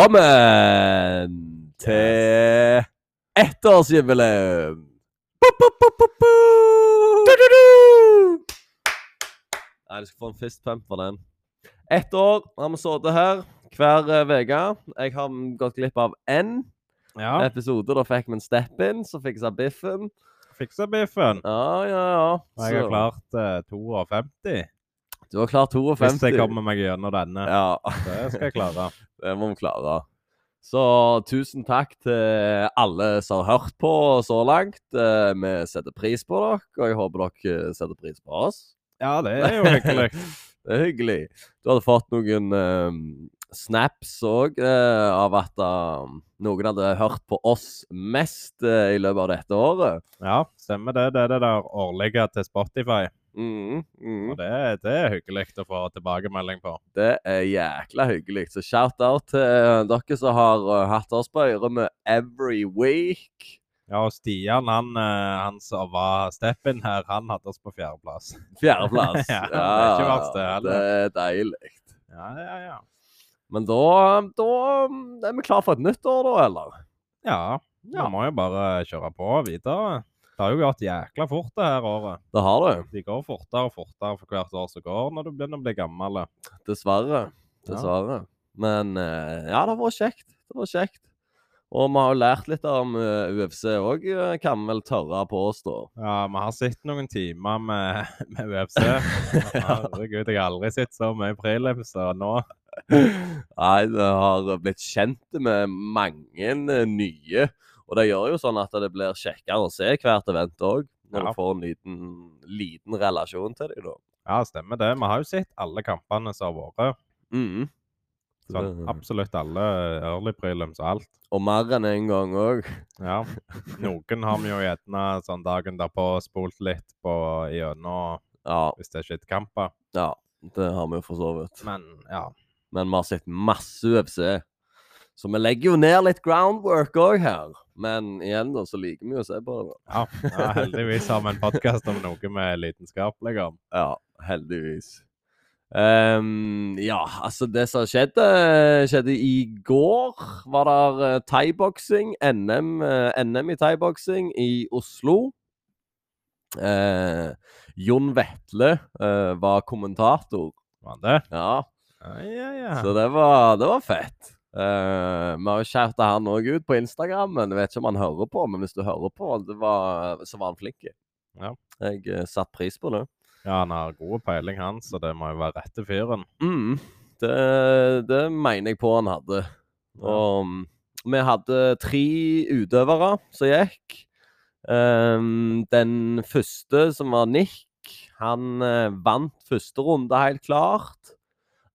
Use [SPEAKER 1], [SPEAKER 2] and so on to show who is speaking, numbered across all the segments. [SPEAKER 1] Velkommen til ettårsjubileum! Boop, boop, boop, boop, boop. Nei, du skal få en fist pump for den. Ett år har vi sittet her hver eh, uke. Jeg har gått glipp av én
[SPEAKER 2] Ja,
[SPEAKER 1] episode. Da fikk vi en step in, så fiksa biffen.
[SPEAKER 2] fiksa biffen.
[SPEAKER 1] Ja, ja, ja.
[SPEAKER 2] Og jeg har klart eh, 52.
[SPEAKER 1] Du har klart 52.
[SPEAKER 2] Hvis jeg kommer meg gjennom denne.
[SPEAKER 1] Ja,
[SPEAKER 2] Det skal jeg klare.
[SPEAKER 1] det må vi klare. Så tusen takk til alle som har hørt på så langt. Eh, Vi setter pris på dere, og jeg håper dere setter pris på oss.
[SPEAKER 2] Ja, det er jo hyggelig.
[SPEAKER 1] Det er hyggelig. Du hadde fått noen eh, snaps òg av at eh, noen hadde hørt på oss mest eh, i løpet av dette året.
[SPEAKER 2] Ja, stemmer det. Det er det der årlige til Spotify.
[SPEAKER 1] Mm, mm.
[SPEAKER 2] Og det, det er hyggelig å få tilbakemelding på.
[SPEAKER 1] Det er jækla hyggelig. Så shout-out til eh, dere som har eh, hatt oss på øret med every week.
[SPEAKER 2] Ja, og Stian, han, eh, han som var step-in her, han hadde oss på fjerdeplass.
[SPEAKER 1] Fjerdeplass.
[SPEAKER 2] Ja, det er ikke verst det heller.
[SPEAKER 1] Det er deilig.
[SPEAKER 2] Ja, ja, ja.
[SPEAKER 1] Men da, da er vi klar for et nytt år, da, eller?
[SPEAKER 2] Ja,
[SPEAKER 1] Ja.
[SPEAKER 2] vi må jo bare kjøre på videre. Det har jo gått jækla fort det her året.
[SPEAKER 1] Det har du.
[SPEAKER 2] De går fortere og fortere for hvert år som går, når du begynner å bli gammel.
[SPEAKER 1] Dessverre.
[SPEAKER 2] Ja.
[SPEAKER 1] Dessverre. Men eh, ja, det har vært kjekt. Det har vært kjekt. Og vi har jo lært litt om eh, UFC òg, eh, kan vi vel tørre på oss, da.
[SPEAKER 2] Ja, vi har sett noen timer med, med UFC. Herregud, jeg har aldri sett så mye prelims som nå.
[SPEAKER 1] Nei, det har blitt kjent med mange eh, nye. Og det gjør jo sånn at det blir kjekkere å se hvert event òg. Når
[SPEAKER 2] Ja.
[SPEAKER 1] du får en liten, liten relasjon til dem, da.
[SPEAKER 2] Ja, stemmer det. Vi har jo sett alle kampene som har vært.
[SPEAKER 1] Mhm.
[SPEAKER 2] Sånn,
[SPEAKER 1] Det-
[SPEAKER 2] absolutt alle early prelims og alt.
[SPEAKER 1] Og mer enn én en gang òg.
[SPEAKER 2] Ja. Noen har vi jo gjerne sånn dagen derpå spolt litt på gjennom
[SPEAKER 1] Ja,
[SPEAKER 2] hvis det er skittkamper.
[SPEAKER 1] ja, det har vi jo for så vidt.
[SPEAKER 2] Men ja.
[SPEAKER 1] Men vi har sett masse UFC. Så vi legger jo ned litt groundwork òg her. Men igjen, da, så liker vi jo å se på det. da.
[SPEAKER 2] ja. ja heldigvis har vi en podkast om noe vi er lidenskapelige om.
[SPEAKER 1] Ja, heldigvis. Ehm, ja, altså det som skjedde, skjedde i går. Var der eh, thaiboksing, NM, eh, NM i thaiboksing i Oslo. Eh, Jon Vetle eh, var kommentator.
[SPEAKER 2] Var det?
[SPEAKER 1] Ja,
[SPEAKER 2] Ja, ja, ja.
[SPEAKER 1] Så det var, det var fett. Eh, vi har jo shouta han òg ut på Instagram. Men jeg vet ikke om han hører på, men hvis du hører på, det var, så var han flink.
[SPEAKER 2] Ja.
[SPEAKER 1] Jeg eh, satte pris på det.
[SPEAKER 2] ja, han har god peiling, han, så det må jo være rette fyren.
[SPEAKER 1] Mm, det, det mener jeg på han hadde. Og mm, vi hadde tre utøvere som gikk. Ehm, den første, som var Nick, han eh, vant første runde helt klart.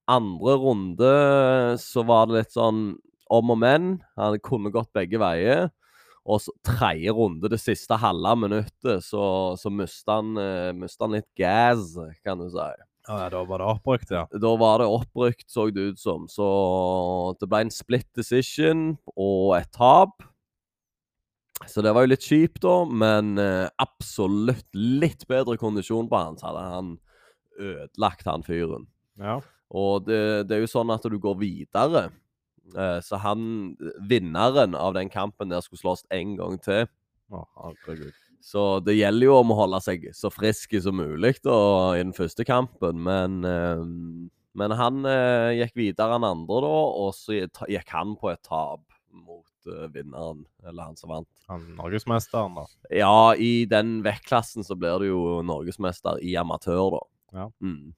[SPEAKER 1] Andre runde eh, så var det litt sånn om og men. Han kunne gått begge veier. Og så tredje runde, det siste halve minuttet, så, så mista han, eh, mistet han litt gas, kan du si
[SPEAKER 2] Ja, da var det oppbrukt, ja.
[SPEAKER 1] da var det opprykt, så det ut som. Så det ble en split decision og et tap. Så det var jo litt kjipt, da, men eh, absolutt litt bedre kondisjon på han, så hadde han ødelagt han fyren.
[SPEAKER 2] Ja,
[SPEAKER 1] Og det, det er jo sånn at du går videre. Eh, så han, vinneren av den kampen der, skulle slåss én gang til.
[SPEAKER 2] Å, herregud.
[SPEAKER 1] Så det gjelder jo om å holde seg så frisk som mulig da, i den første kampen. Men, eh, men han eh, gikk videre enn andre, da, og så gikk- gikk han på et tap mot eh, vinneren, eller han som vant.
[SPEAKER 2] Han norgesmesteren, da.
[SPEAKER 1] Ja, i den vektklassen så blir du jo norgesmester i amatør, da.
[SPEAKER 2] Ja.
[SPEAKER 1] Mm.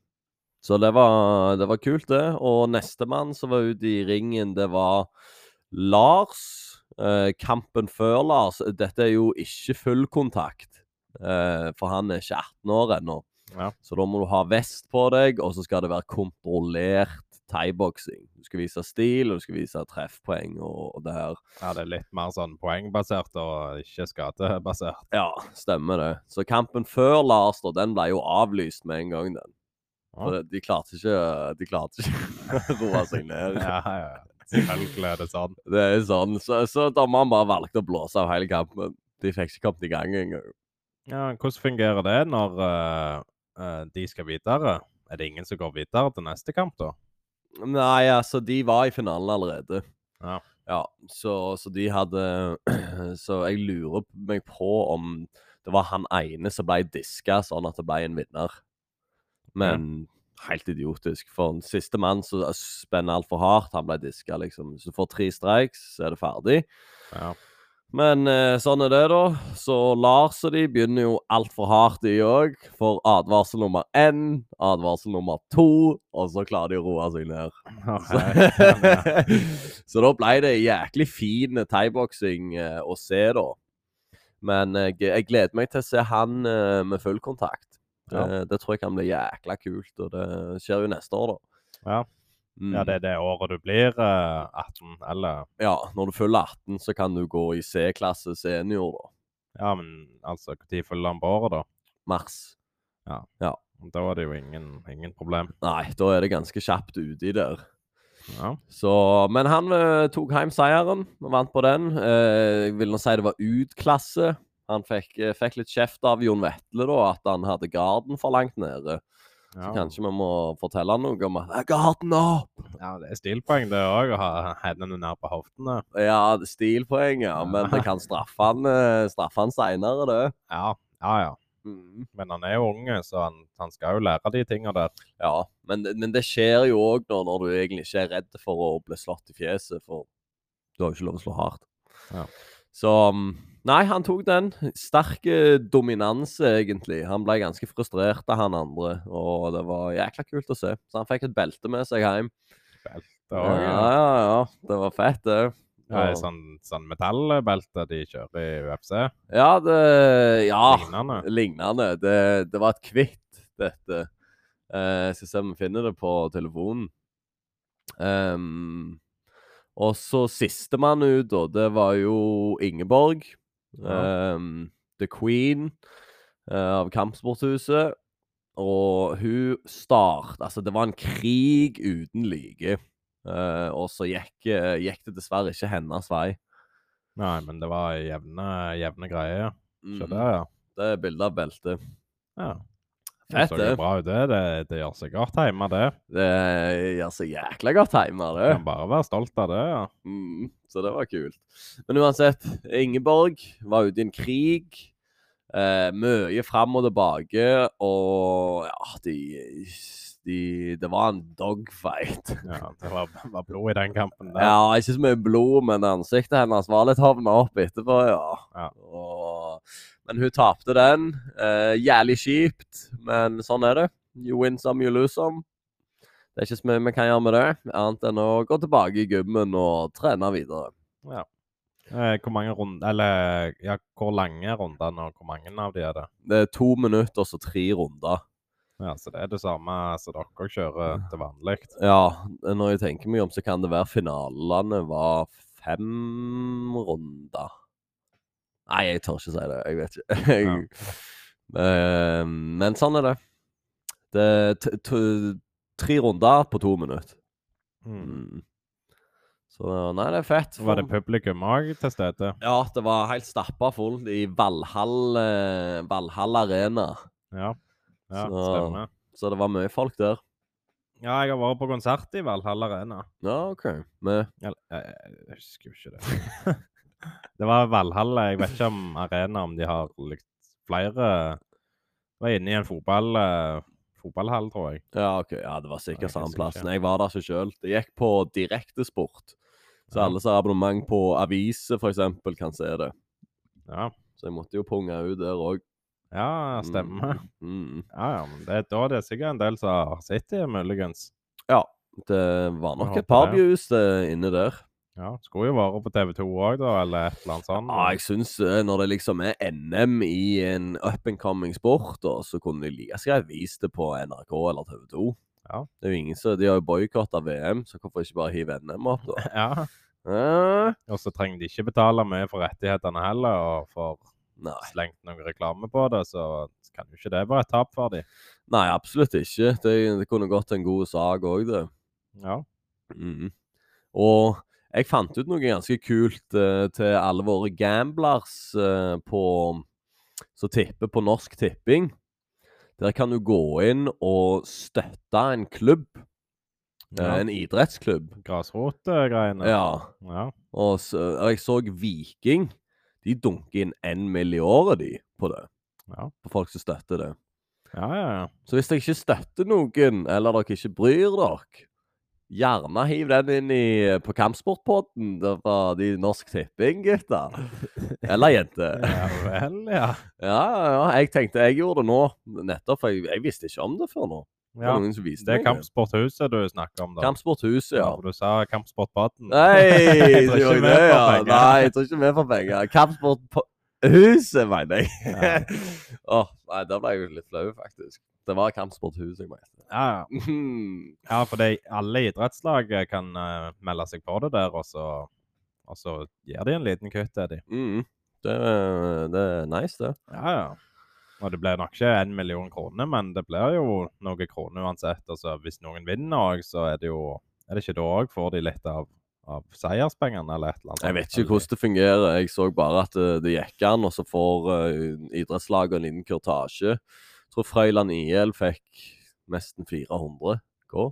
[SPEAKER 1] Så det var, det var kult, det. Og nestemann som var ute i ringen, det var Lars. Eh, kampen før Lars Dette er jo ikke full kontakt, eh, for han er ikke 18 år ennå.
[SPEAKER 2] Ja.
[SPEAKER 1] Så da må du ha vest på deg, og så skal det være kontrollert thaiboksing. Du skal vise stil, og du skal vise treffpoeng og, og det her.
[SPEAKER 2] Ja, det er litt mer sånn poengbasert og ikke skadebasert.
[SPEAKER 1] Ja, stemmer det. Så kampen før Lars, da, den ble jo avlyst med en gang, den. For
[SPEAKER 2] Ja.
[SPEAKER 1] det- de klarte ikke De klarte ikke å roe seg ned.
[SPEAKER 2] Ja, ja, ja. Selvfølgelig er det sånn.
[SPEAKER 1] Det er sånn. Så, så dommeren bare valgte å blåse av hele kampen. De fikk ikke kommet i gang engang.
[SPEAKER 2] Ja, hvordan fungerer det når eh, eh, de skal videre? Er det ingen som går videre til neste kamp, da?
[SPEAKER 1] Nei, altså, de var i finalen allerede.
[SPEAKER 2] Ja.
[SPEAKER 1] Ja, så, så de hadde Så jeg lurer meg på om det var han ene som ble diska, sånn at det ble en vinner. Men helt idiotisk. For en siste mann som eh, spenner altfor hardt, han ble diska, liksom. Hvis du får tre streiks, så er det ferdig.
[SPEAKER 2] Ja.
[SPEAKER 1] Men eh, sånn er det, da. Så Lars og de begynner jo altfor hardt, de òg. For advarsel nummer én, advarsel nummer to, og så klarer de å roe seg ned. Så, så da ble det jæklig fin thaiboksing eh, å se, da. Men eh, jeg, jeg gleder meg til å se han eh, med full kontakt. Det,
[SPEAKER 2] Ja.
[SPEAKER 1] det tror jeg kan bli jækla kult, og det skjer jo neste år, da.
[SPEAKER 2] Ja.
[SPEAKER 1] Mm.
[SPEAKER 2] Ja, det er det året du blir eh, 18, eller
[SPEAKER 1] ja, når du fyller 18, så kan du gå i C-klasse senior, da.
[SPEAKER 2] Ja, men altså, når fyller han på året, da?
[SPEAKER 1] Mars.
[SPEAKER 2] Da er det jo ingen, ingen problem.
[SPEAKER 1] Nei, da er det ganske kjapt uti der.
[SPEAKER 2] Ja.
[SPEAKER 1] Så, men han eh, tok hjem seieren og vant på den. Eh, jeg vil nå si det var utklasse. Han fikk, eh, fikk litt kjeft av Jon Vetle da, at han hadde garden for langt nede. Så
[SPEAKER 2] Ja.
[SPEAKER 1] kanskje vi må fortelle han noe om at «Eh, Garden opp!
[SPEAKER 2] ja, det er stilpoeng, det òg, å ha hendene nær på hoftene.
[SPEAKER 1] Ja, det er stilpoeng, ja. Men det kan straffe han, eh, straffe han seinere, det.
[SPEAKER 2] Ja, ja, ja.
[SPEAKER 1] Mm.
[SPEAKER 2] Men han er jo unge, så han, han skal jo lære de tinga der.
[SPEAKER 1] Ja, men, det- men det skjer jo òg når, når du egentlig ikke er redd for å bli slått i fjeset, for du har jo ikke lov å slå hardt.
[SPEAKER 2] Ja.
[SPEAKER 1] Så mm, Nei, han tok den. Sterk eh, dominanse, egentlig. Han ble ganske frustrert av han andre, og det var jækla kult å se. Så han fikk et belte med seg hjem.
[SPEAKER 2] Det
[SPEAKER 1] ja,
[SPEAKER 2] er jo
[SPEAKER 1] ja, ja. Det var fett, det.
[SPEAKER 2] ja,
[SPEAKER 1] Og-
[SPEAKER 2] et sånn, sånn metallbelte de kjører i UFC.
[SPEAKER 1] ja, det Ja.
[SPEAKER 2] Lignende.
[SPEAKER 1] lignende. Det, det var et kvitt, dette. Eh, jeg skal se om vi finner det på telefonen. Ehm, og så sistemann ut, og det var jo Ingeborg.
[SPEAKER 2] Ja.
[SPEAKER 1] ehm, The Queen eh, av Kampsporthuset. Og hun start Altså, det var en krig uten like. Eh, og så gikk, eh, gikk det dessverre ikke hennes vei.
[SPEAKER 2] Nei, men det var jevne, jevne greier.
[SPEAKER 1] Mm,
[SPEAKER 2] Så det, ja.
[SPEAKER 1] Det er bilde av beltet.
[SPEAKER 2] ja.
[SPEAKER 1] Fett,
[SPEAKER 2] det. så
[SPEAKER 1] det.
[SPEAKER 2] jo bra ut, det. Det, det gjør seg godt hjemme, det.
[SPEAKER 1] Det gjør seg jækla godt hjemme, det.
[SPEAKER 2] Kan bare være stolt av det, ja.
[SPEAKER 1] Mm, så det var kult. Men uansett, Ingeborg var ute i en krig. Eh, mye fram og tilbake, og ja, de, de Det var en dogfight.
[SPEAKER 2] ja det var, var blod i den kampen der.
[SPEAKER 1] Ja, ikke så mye blod, men ansiktet hennes var litt hovna opp etterpå, ja.
[SPEAKER 2] Ja.
[SPEAKER 1] Og, men hun tapte den. Eh, jævlig kjipt, men sånn er det. You win some, you lose some. Det er ikke så mye vi kan gjøre med det, annet enn å gå tilbake i gymmen og trene videre.
[SPEAKER 2] Eh, hvor mange runder Eller ja, hvor lange er rundene, og hvor mange av de er det?
[SPEAKER 1] Det er to minutter, så tre runder.
[SPEAKER 2] Ja, Så det er det samme som dere også kjører til vanlig.
[SPEAKER 1] Ja, når jeg tenker meg om, så kan det være finalene var fem runder. Nei, jeg tør ikke si det. Jeg vet ikke. Jeg, Eh, men sånn er det. Det er t t tre runder på to minutter.
[SPEAKER 2] Mm.
[SPEAKER 1] Mm. Så nei, det er fett.
[SPEAKER 2] Så var det
[SPEAKER 1] for-
[SPEAKER 2] publikum òg til stede.
[SPEAKER 1] ja, det var helt stappa fullt i Valhall, eh, Valhall Arena.
[SPEAKER 2] Ja, ja
[SPEAKER 1] Så-
[SPEAKER 2] stemmer.
[SPEAKER 1] Så det var mye folk der.
[SPEAKER 2] Ja, jeg har vært på konsert i Valhall Arena.
[SPEAKER 1] Ja, OK. Med
[SPEAKER 2] Eller, jeg, jeg, jeg husker jo ikke det. det var Valhall. Jeg vet ikke om Arena om de har likt flere Det var inne i en fotball, eh, fotballhall, tror jeg.
[SPEAKER 1] Ja, ok. Ja, det var sikkert
[SPEAKER 2] jeg
[SPEAKER 1] samme
[SPEAKER 2] husker
[SPEAKER 1] plassen.
[SPEAKER 2] ikke.
[SPEAKER 1] Jeg var der ikke sjøl. Det gikk på direktesport. Så
[SPEAKER 2] Ja.
[SPEAKER 1] alle som har abonnement på aviser, for eksempel, kan se det.
[SPEAKER 2] Ja,
[SPEAKER 1] Så jeg måtte jo punge ut der òg.
[SPEAKER 2] ja stemmer.
[SPEAKER 1] Mm.
[SPEAKER 2] Ja, ja, men det, da er det sikkert en del som har sett det, muligens.
[SPEAKER 1] Det var nok
[SPEAKER 2] Jeg
[SPEAKER 1] et par
[SPEAKER 2] håper det.
[SPEAKER 1] views eh, inne der.
[SPEAKER 2] Ja, Skulle jo vært på TV2 òg, da, eller et eller annet sånt.
[SPEAKER 1] Ja, jeg syns eh, når det liksom er NM i en up and coming sport, da, så kunne de like gjerne vist det på NRK eller TV 2.
[SPEAKER 2] Ja.
[SPEAKER 1] Det er jo ingen som, De har jo boikotta VM, så hvorfor ikke bare hive NM opp, da?
[SPEAKER 2] Ja,
[SPEAKER 1] Eh,
[SPEAKER 2] Og så trenger de ikke betale mye for rettighetene heller, og får
[SPEAKER 1] nei.
[SPEAKER 2] slengt noe reklame på det, så kan jo ikke det være et tap for dem.
[SPEAKER 1] Nei, absolutt ikke. Det, det kunne gått en god sak òg, det.
[SPEAKER 2] Ja.
[SPEAKER 1] Mhm. Og jeg fant ut noe ganske kult eh, til alle våre gamblers eh, på, som tipper på Norsk Tipping. Der kan du gå inn og støtte en klubb. eh,
[SPEAKER 2] Ja.
[SPEAKER 1] en idrettsklubb.
[SPEAKER 2] Grasrotgreiene.
[SPEAKER 1] Ja.
[SPEAKER 2] Ja.
[SPEAKER 1] Og, så, og jeg så Viking. De dunker inn én mill. i året, de, på det.
[SPEAKER 2] Ja.
[SPEAKER 1] På folk som støtter det.
[SPEAKER 2] Ja, ja, ja.
[SPEAKER 1] Så hvis dere ikke støtter noen, eller dere ikke bryr dere, gjerne hiv den inn i, på kampsportpodden der fra de Norsk Tipping, gutter. Eller jenter.
[SPEAKER 2] Ja vel, ja.
[SPEAKER 1] Ja, ja, ja. Jeg tenkte jeg gjorde det nå, nettopp, for jeg, jeg visste ikke om det før nå. Det var
[SPEAKER 2] ja.
[SPEAKER 1] noen som viste
[SPEAKER 2] Det er
[SPEAKER 1] meg
[SPEAKER 2] Kampsporthuset du snakker om, da.
[SPEAKER 1] Kampsporthuset, ja.
[SPEAKER 2] For Du sa Kampsportbaden.
[SPEAKER 1] Nei,
[SPEAKER 2] Jeg
[SPEAKER 1] du
[SPEAKER 2] tror ikke
[SPEAKER 1] gjorde
[SPEAKER 2] vi
[SPEAKER 1] det,
[SPEAKER 2] får
[SPEAKER 1] ja.
[SPEAKER 2] penger.
[SPEAKER 1] Nei, jeg tror ikke vi får penger. Kampsporthuset, mener jeg.
[SPEAKER 2] Ja.
[SPEAKER 1] Åh, nei, da ble jeg jo litt flau, faktisk. Det var Kampsporthuset jeg
[SPEAKER 2] Ja, ja.
[SPEAKER 1] mente.
[SPEAKER 2] ja for det, alle idrettslag eh, kan eh, melde seg på det der, og så, og så gir de en liten kutt til de.
[SPEAKER 1] Mm. Det, det er nice, det.
[SPEAKER 2] Ja, ja. Og det blir nok ikke en million kroner, men det blir jo noen kroner uansett. Altså, hvis noen vinner òg, så er det jo Er det ikke da òg får de litt av, av seierspengene eller et eller annet?
[SPEAKER 1] Jeg vet ikke
[SPEAKER 2] Eller-
[SPEAKER 1] hvordan det fungerer. Jeg så bare at eh, det gikk an, og så får eh, idrettslaget en liten kurtasje. Jeg tror Frøyland IL fikk nesten 400 K.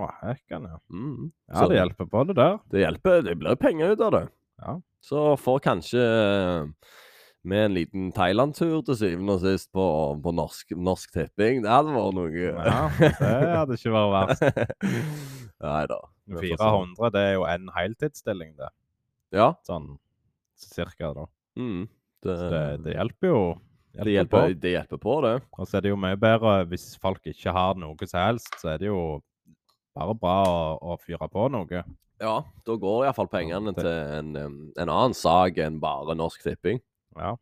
[SPEAKER 2] Å, hekken, ja.
[SPEAKER 1] Mm.
[SPEAKER 2] Ja, det hjelper på det der.
[SPEAKER 1] Det hjelper. Det blir penger ut av det.
[SPEAKER 2] Ja.
[SPEAKER 1] Så får kanskje eh, vi en liten Thailand-tur til syvende og sist på, på norsk, norsk tipping. Det hadde vært noe.
[SPEAKER 2] Ja, det hadde ikke vært verst.
[SPEAKER 1] Nei da. Vi får se.
[SPEAKER 2] 400 det er jo en heltidsstilling, det.
[SPEAKER 1] Ja.
[SPEAKER 2] Sånn cirka, da.
[SPEAKER 1] Mm.
[SPEAKER 2] Så det, det hjelper jo.
[SPEAKER 1] det, hjelper, det hjelper på, det.
[SPEAKER 2] på. Og så er det jo mye bedre hvis folk ikke har noe som helst, så er det jo bare bra å, å fyre på noe.
[SPEAKER 1] Ja, da går iallfall pengene
[SPEAKER 2] det-
[SPEAKER 1] til en, em, en annen sak enn bare Norsk Tipping.
[SPEAKER 2] Ja.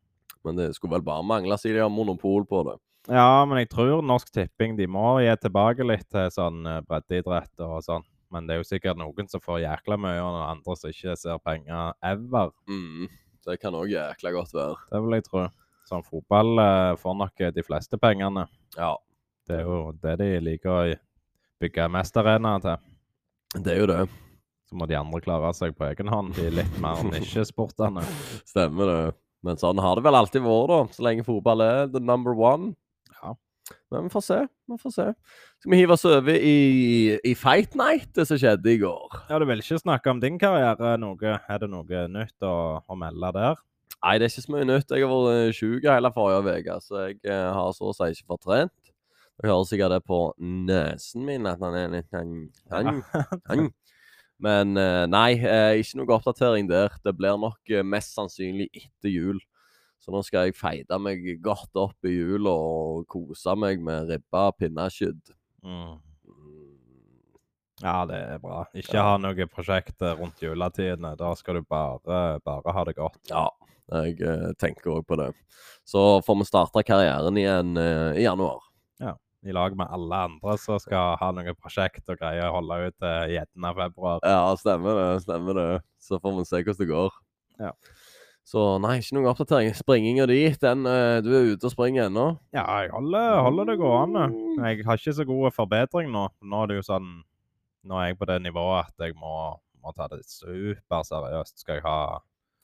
[SPEAKER 1] Men det skulle vel bare mangle, siden de har monopol på det.
[SPEAKER 2] ja, men jeg tror Norsk Tipping de må gi tilbake litt til sånn eh, breddeidrett og sånn. Men det er jo sikkert noen som får jækla mye, og noen andre som ikke ser penger ever.
[SPEAKER 1] Mm. Det kan òg jækla godt være.
[SPEAKER 2] Det vil jeg tro. Sånn fotball eh, får nok eh, de fleste pengene.
[SPEAKER 1] Ja,
[SPEAKER 2] Det er jo det de liker å bygge mest arenaer til.
[SPEAKER 1] det er jo det.
[SPEAKER 2] så må de andre klare seg på egen hånd, de litt mer nisjesportene.
[SPEAKER 1] Stemmer det. Men sånn har det vel alltid vært, da. Så lenge fotball er the number one.
[SPEAKER 2] Ja.
[SPEAKER 1] Men vi får se. Vi får se. Skal vi hive oss over i, i Fight Night, det som skjedde i går?
[SPEAKER 2] Ja, du vil ikke snakke om din karriere noe? Er det noe nytt å, å melde der?
[SPEAKER 1] Nei, det er ikke så mye nytt. Jeg har vært sjuk hele forrige uke, så jeg eh, har så å si ikke fått trent. Dere hører sikkert det på nesen min at han er litt han, han, han. Men eh, nei, eh, ikke noe oppdatering der. Det blir nok eh, mest sannsynlig etter jul. Så nå skal jeg feide meg godt opp i jula og kose meg med ribba pinnekjøtt.
[SPEAKER 2] Mm.
[SPEAKER 1] Mm,
[SPEAKER 2] Ja, det er bra. Ikke
[SPEAKER 1] Ja.
[SPEAKER 2] ha noe prosjekt eh, rundt juletidene. Da skal du bare, bare ha det godt.
[SPEAKER 1] Ja, jeg eh, tenker òg på det. Så får vi starte karrieren igjen eh, i januar.
[SPEAKER 2] I lag med alle andre som skal ha noe prosjekt og greier å holde ut til gjetten av februar.
[SPEAKER 1] Ja, stemmer det. stemmer det. Så får vi se hvordan det går.
[SPEAKER 2] Ja.
[SPEAKER 1] Så nei, ikke noen oppdatering. Springinga di, den eh, Du er ute og springer ennå? Mm.
[SPEAKER 2] Ja, jeg holder, holder det gående. Jeg har ikke så god forbedring nå. Nå er det jo sånn Nå er jeg på det nivået at jeg må, må ta det superseriøst. Skal jeg ha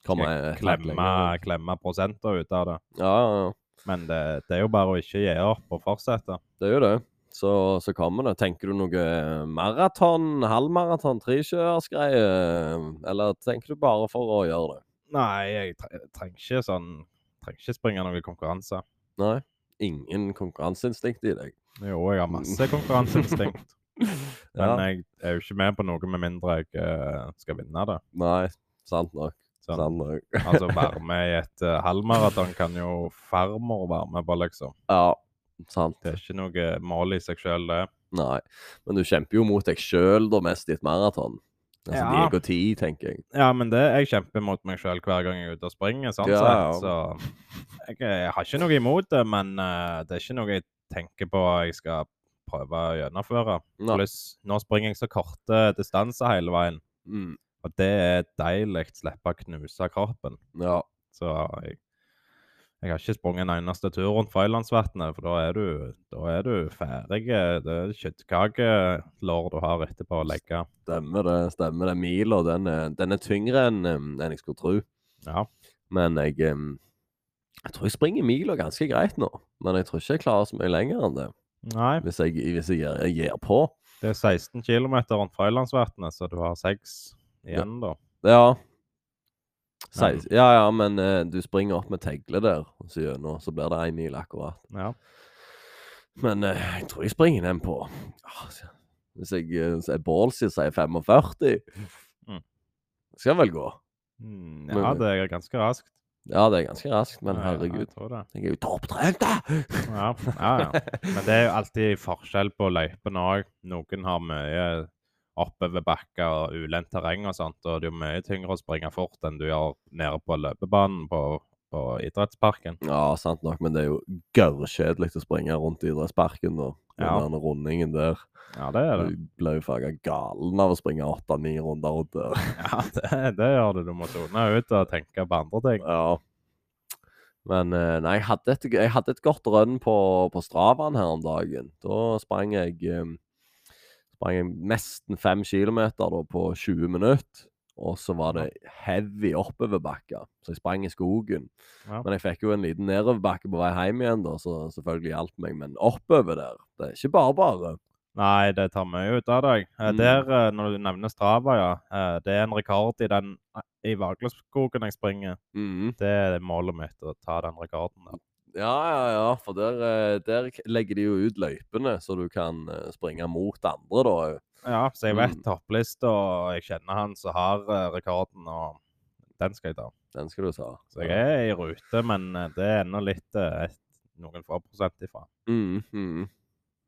[SPEAKER 1] Kommer
[SPEAKER 2] Skal
[SPEAKER 1] jeg helt
[SPEAKER 2] klemme,
[SPEAKER 1] lenger.
[SPEAKER 2] klemme prosenter ut av det.
[SPEAKER 1] Ja, ja, ja.
[SPEAKER 2] Men det, det er jo bare å ikke gi opp og fortsette.
[SPEAKER 1] Det er jo det. Så, så kommer det. Tenker du noe eh, maraton, halvmaraton, trekjørersgreie? Eller tenker du bare for å gjøre det?
[SPEAKER 2] Nei, jeg tre- trenger ikke sånn Trenger ikke springe noen konkurranse.
[SPEAKER 1] Nei. Ingen konkurranseinstinkt i deg.
[SPEAKER 2] Jo, jeg har masse konkurranseinstinkt, men
[SPEAKER 1] Ja.
[SPEAKER 2] jeg er jo ikke med på noe med mindre jeg eh, skal vinne det.
[SPEAKER 1] Nei, sant nok.
[SPEAKER 2] Sånn.
[SPEAKER 1] Sant nok.
[SPEAKER 2] Altså, være med i et eh, halvmaraton kan jo farmor være med på, liksom.
[SPEAKER 1] Ja, sant.
[SPEAKER 2] Det er ikke noe mål i seg sjøl, det.
[SPEAKER 1] Nei, men du kjemper jo mot deg sjøl da mest i et maraton. Altså
[SPEAKER 2] Ja.
[SPEAKER 1] de går ti, tenker jeg.
[SPEAKER 2] Ja, men det, jeg kjemper mot meg sjøl hver gang jeg er ute og springer. sånn
[SPEAKER 1] Ja,
[SPEAKER 2] sett. Så jeg, eh, har ikke noe imot det, men eh, det er ikke noe jeg tenker på jeg skal prøve å gjennomføre.
[SPEAKER 1] Nei.
[SPEAKER 2] Pluss, nå springer jeg så korte distanser hele veien,
[SPEAKER 1] Mm.
[SPEAKER 2] og det er deilig. Slippe å knuse kroppen.
[SPEAKER 1] Ja.
[SPEAKER 2] Så jeg, jeg har ikke sprunget en eneste tur rundt Frøylandsvatnet, for da er du, da er du ferdig. Det er kjøttkakelår du har etterpå å legge.
[SPEAKER 1] Stemmer det. stemmer det. Mila den er, den er tyngre enn em, enn jeg skulle tro.
[SPEAKER 2] Ja.
[SPEAKER 1] Men jeg, em, jeg tror jeg springer mila ganske greit nå. Men jeg tror ikke jeg klarer så mye lenger enn det
[SPEAKER 2] Nei.
[SPEAKER 1] hvis jeg, hvis jeg, gir- jeg gir på.
[SPEAKER 2] Det er 16 km rundt Frøylandsvatnet, så du har seks igjen, da.
[SPEAKER 1] Ja. Seis- ja, ja, men eh, du springer opp med tegle der, og så gjennom, så blir det én mil akkurat.
[SPEAKER 2] Ja.
[SPEAKER 1] Men eh, jeg tror jeg springer den på ah, s- Hvis jeg eh, s- er ballsy og sier 45,
[SPEAKER 2] Mm.
[SPEAKER 1] skal vel gå.
[SPEAKER 2] Mm, ja, det er ganske raskt.
[SPEAKER 1] Ja, det er ganske raskt, men
[SPEAKER 2] Ja,
[SPEAKER 1] herregud.
[SPEAKER 2] Jeg tror det.
[SPEAKER 1] Jeg er jo topptrent, da!
[SPEAKER 2] Ja, ja, ja. Men det er jo alltid forskjell på løypene òg. Noen har mye oppoverbakker og ulendt terreng og sånt, og det er jo mye tyngre å springe fort enn du gjør nede på løpebanen på, på idrettsparken.
[SPEAKER 1] Ja, sant nok, men det er jo gørrkjedelig å springe rundt i idrettsparken og den
[SPEAKER 2] Ja.
[SPEAKER 1] der rundingen der.
[SPEAKER 2] Ja, det er det.
[SPEAKER 1] Du ble jo faga galen av å springe åtte-ni runder rundt der.
[SPEAKER 2] Ja, det, det gjør det. Du må tone ut og tenke på andre ting.
[SPEAKER 1] Ja. Men eh, nei, jeg hadde et, jeg hadde et godt rønn på, på Stravaen her om dagen. Da sprang jeg, eh, sprang jeg nesten fem kilometer da, på 20 minutter. Og så var det heavy oppoverbakker, så jeg sprang i skogen.
[SPEAKER 2] Ja.
[SPEAKER 1] Men jeg fikk jo en liten nedoverbakke på vei hjem igjen, da, så selvfølgelig hjalp meg. Men oppover der, det er ikke bare bare.
[SPEAKER 2] Nei, det tar mye ut av deg. Eh,
[SPEAKER 1] Mm.
[SPEAKER 2] Der, eh, når du nevner Strava, ja. eh, Det er en rekord i den eh, i Vagleskogen jeg springer.
[SPEAKER 1] Mhm.
[SPEAKER 2] Det er målet mitt, å ta den rekorden der.
[SPEAKER 1] Ja, ja, ja, for der, eh, der k- legger de jo ut løypene, så du kan eh, springe mot andre, da.
[SPEAKER 2] Ja, så jeg vet
[SPEAKER 1] Mm.
[SPEAKER 2] topplista, og jeg kjenner han som har eh, rekorden, og den skal jeg ta.
[SPEAKER 1] Den skal du ta.
[SPEAKER 2] Så jeg er i rute, men eh, det er ennå litt eh, et, noen få prosent ifra.
[SPEAKER 1] Mhm, mhm.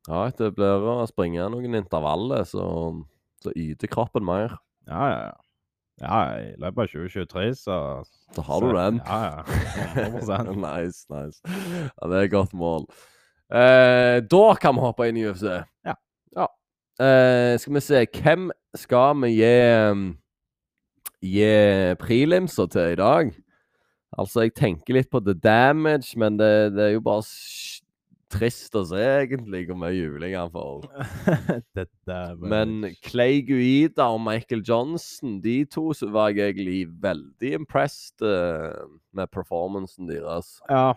[SPEAKER 1] Ja, det blir å springe noen intervaller, så, så yter kroppen mer.
[SPEAKER 2] Ja, ja, ja. Ja, i løpet av 2023, så
[SPEAKER 1] Så har du den.
[SPEAKER 2] Ja, ja. 100
[SPEAKER 1] nice, nice. Ja, det er et godt mål. Eh, da kan vi hoppe inn i UFC.
[SPEAKER 2] Ja.
[SPEAKER 1] Ja. Eh, skal vi se Hvem skal vi gi um, Gi prelimser til i dag? Altså, jeg tenker litt på the damage, men det, det er jo bare s- trist å se, egentlig, hvor mye juling han får.
[SPEAKER 2] det der var-
[SPEAKER 1] Men Clay Guida og Michael Johnson, de to, så var jeg egentlig veldig impressed eh, med performancen deres.
[SPEAKER 2] Ja.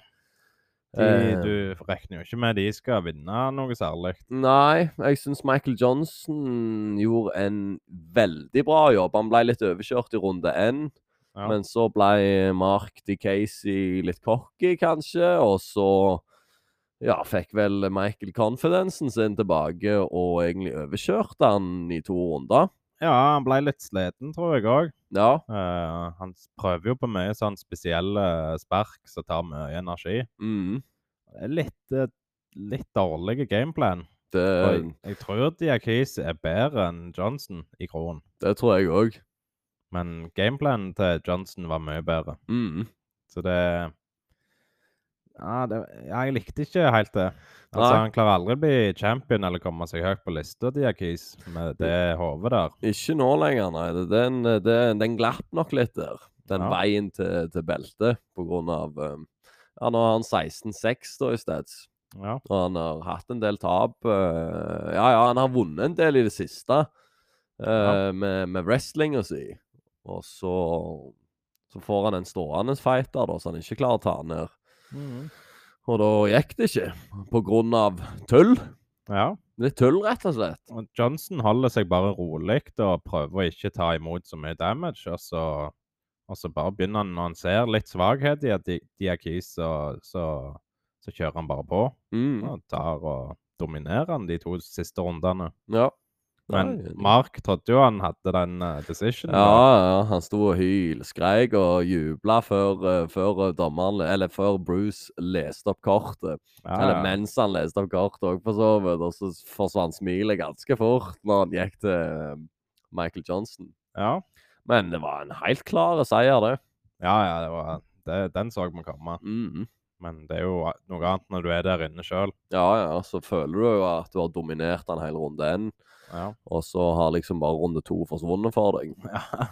[SPEAKER 2] De,
[SPEAKER 1] Eh.
[SPEAKER 2] du regner jo ikke med de skal vinne noe særlig.
[SPEAKER 1] Nei, jeg syns Michael Johnson gjorde en veldig bra jobb. Han ble litt overkjørt i runde én,
[SPEAKER 2] Ja.
[SPEAKER 1] men så ble Mark D. Casey litt cocky, kanskje, og så ja, fikk vel Michael confidensen sin tilbake og egentlig overkjørte han i to runder.
[SPEAKER 2] Ja, han ble litt sliten, tror jeg òg.
[SPEAKER 1] Ja.
[SPEAKER 2] han s- prøver jo på mye sånn spesielle spark som tar mye energi.
[SPEAKER 1] Mm,
[SPEAKER 2] Det er Litt, eh, litt dårlig gameplan. Og
[SPEAKER 1] det,
[SPEAKER 2] Jeg, jeg tror Diakis er bedre enn Johnson i kronen,
[SPEAKER 1] det tror jeg òg.
[SPEAKER 2] men gameplanen til Johnson var mye bedre.
[SPEAKER 1] Mm.
[SPEAKER 2] Så det ja, det, ja, jeg likte ikke helt det. Altså,
[SPEAKER 1] Nei.
[SPEAKER 2] Han klarer aldri å bli champion eller komme seg høyt på lista, Diakis, med det hodet der.
[SPEAKER 1] Ikke nå lenger, nei. Det- Den, eh, den, den glapp nok litt der. Den
[SPEAKER 2] Ja.
[SPEAKER 1] veien til, til beltet, på grunn av eh, Ja, nå har han 16-6 da i stedet.
[SPEAKER 2] Ja.
[SPEAKER 1] Og han har hatt en del tap. eh, ja, ja, han har vunnet en del i det siste eh,
[SPEAKER 2] Ja.
[SPEAKER 1] med, med wrestlinga si. Og så, så får han en stående fighter da, så han ikke klarer å ta han ned.
[SPEAKER 2] mhm.
[SPEAKER 1] Og da gikk det ikke, på grunn av tull.
[SPEAKER 2] ja.
[SPEAKER 1] Litt tull, rett og slett.
[SPEAKER 2] Og Johnson holder seg bare rolig og prøver å ikke ta imot så mye damage. Og så, og så bare begynner han, når han ser litt svakhet i at Di- Diakis, så, så, så kjører han bare på.
[SPEAKER 1] Mm.
[SPEAKER 2] Og tar og dominerer han de to siste rundene.
[SPEAKER 1] Ja.
[SPEAKER 2] Men
[SPEAKER 1] Nei,
[SPEAKER 2] Mark trodde jo han hadde den eh, decisionen. da.
[SPEAKER 1] Ja, ja, han sto og hylskreik og jubla før, eh, før dommeren le- Eller før Bruce leste opp kortet.
[SPEAKER 2] Ja,
[SPEAKER 1] Eller
[SPEAKER 2] ja.
[SPEAKER 1] mens han leste opp kortet òg, for så vidt. Og så forsvant smilet ganske fort når han gikk til eh, Michael Johnson.
[SPEAKER 2] ja.
[SPEAKER 1] Men det var en helt klar seier, det.
[SPEAKER 2] ja, ja, det var, det, den så vi komme.
[SPEAKER 1] Mhm.
[SPEAKER 2] Men det er jo noe annet når du er der inne sjøl.
[SPEAKER 1] Ja, ja, så føler du jo at du har dominert den hele runde én,
[SPEAKER 2] Ja.
[SPEAKER 1] og så har liksom bare runde to forsvunnet for deg.
[SPEAKER 2] ja,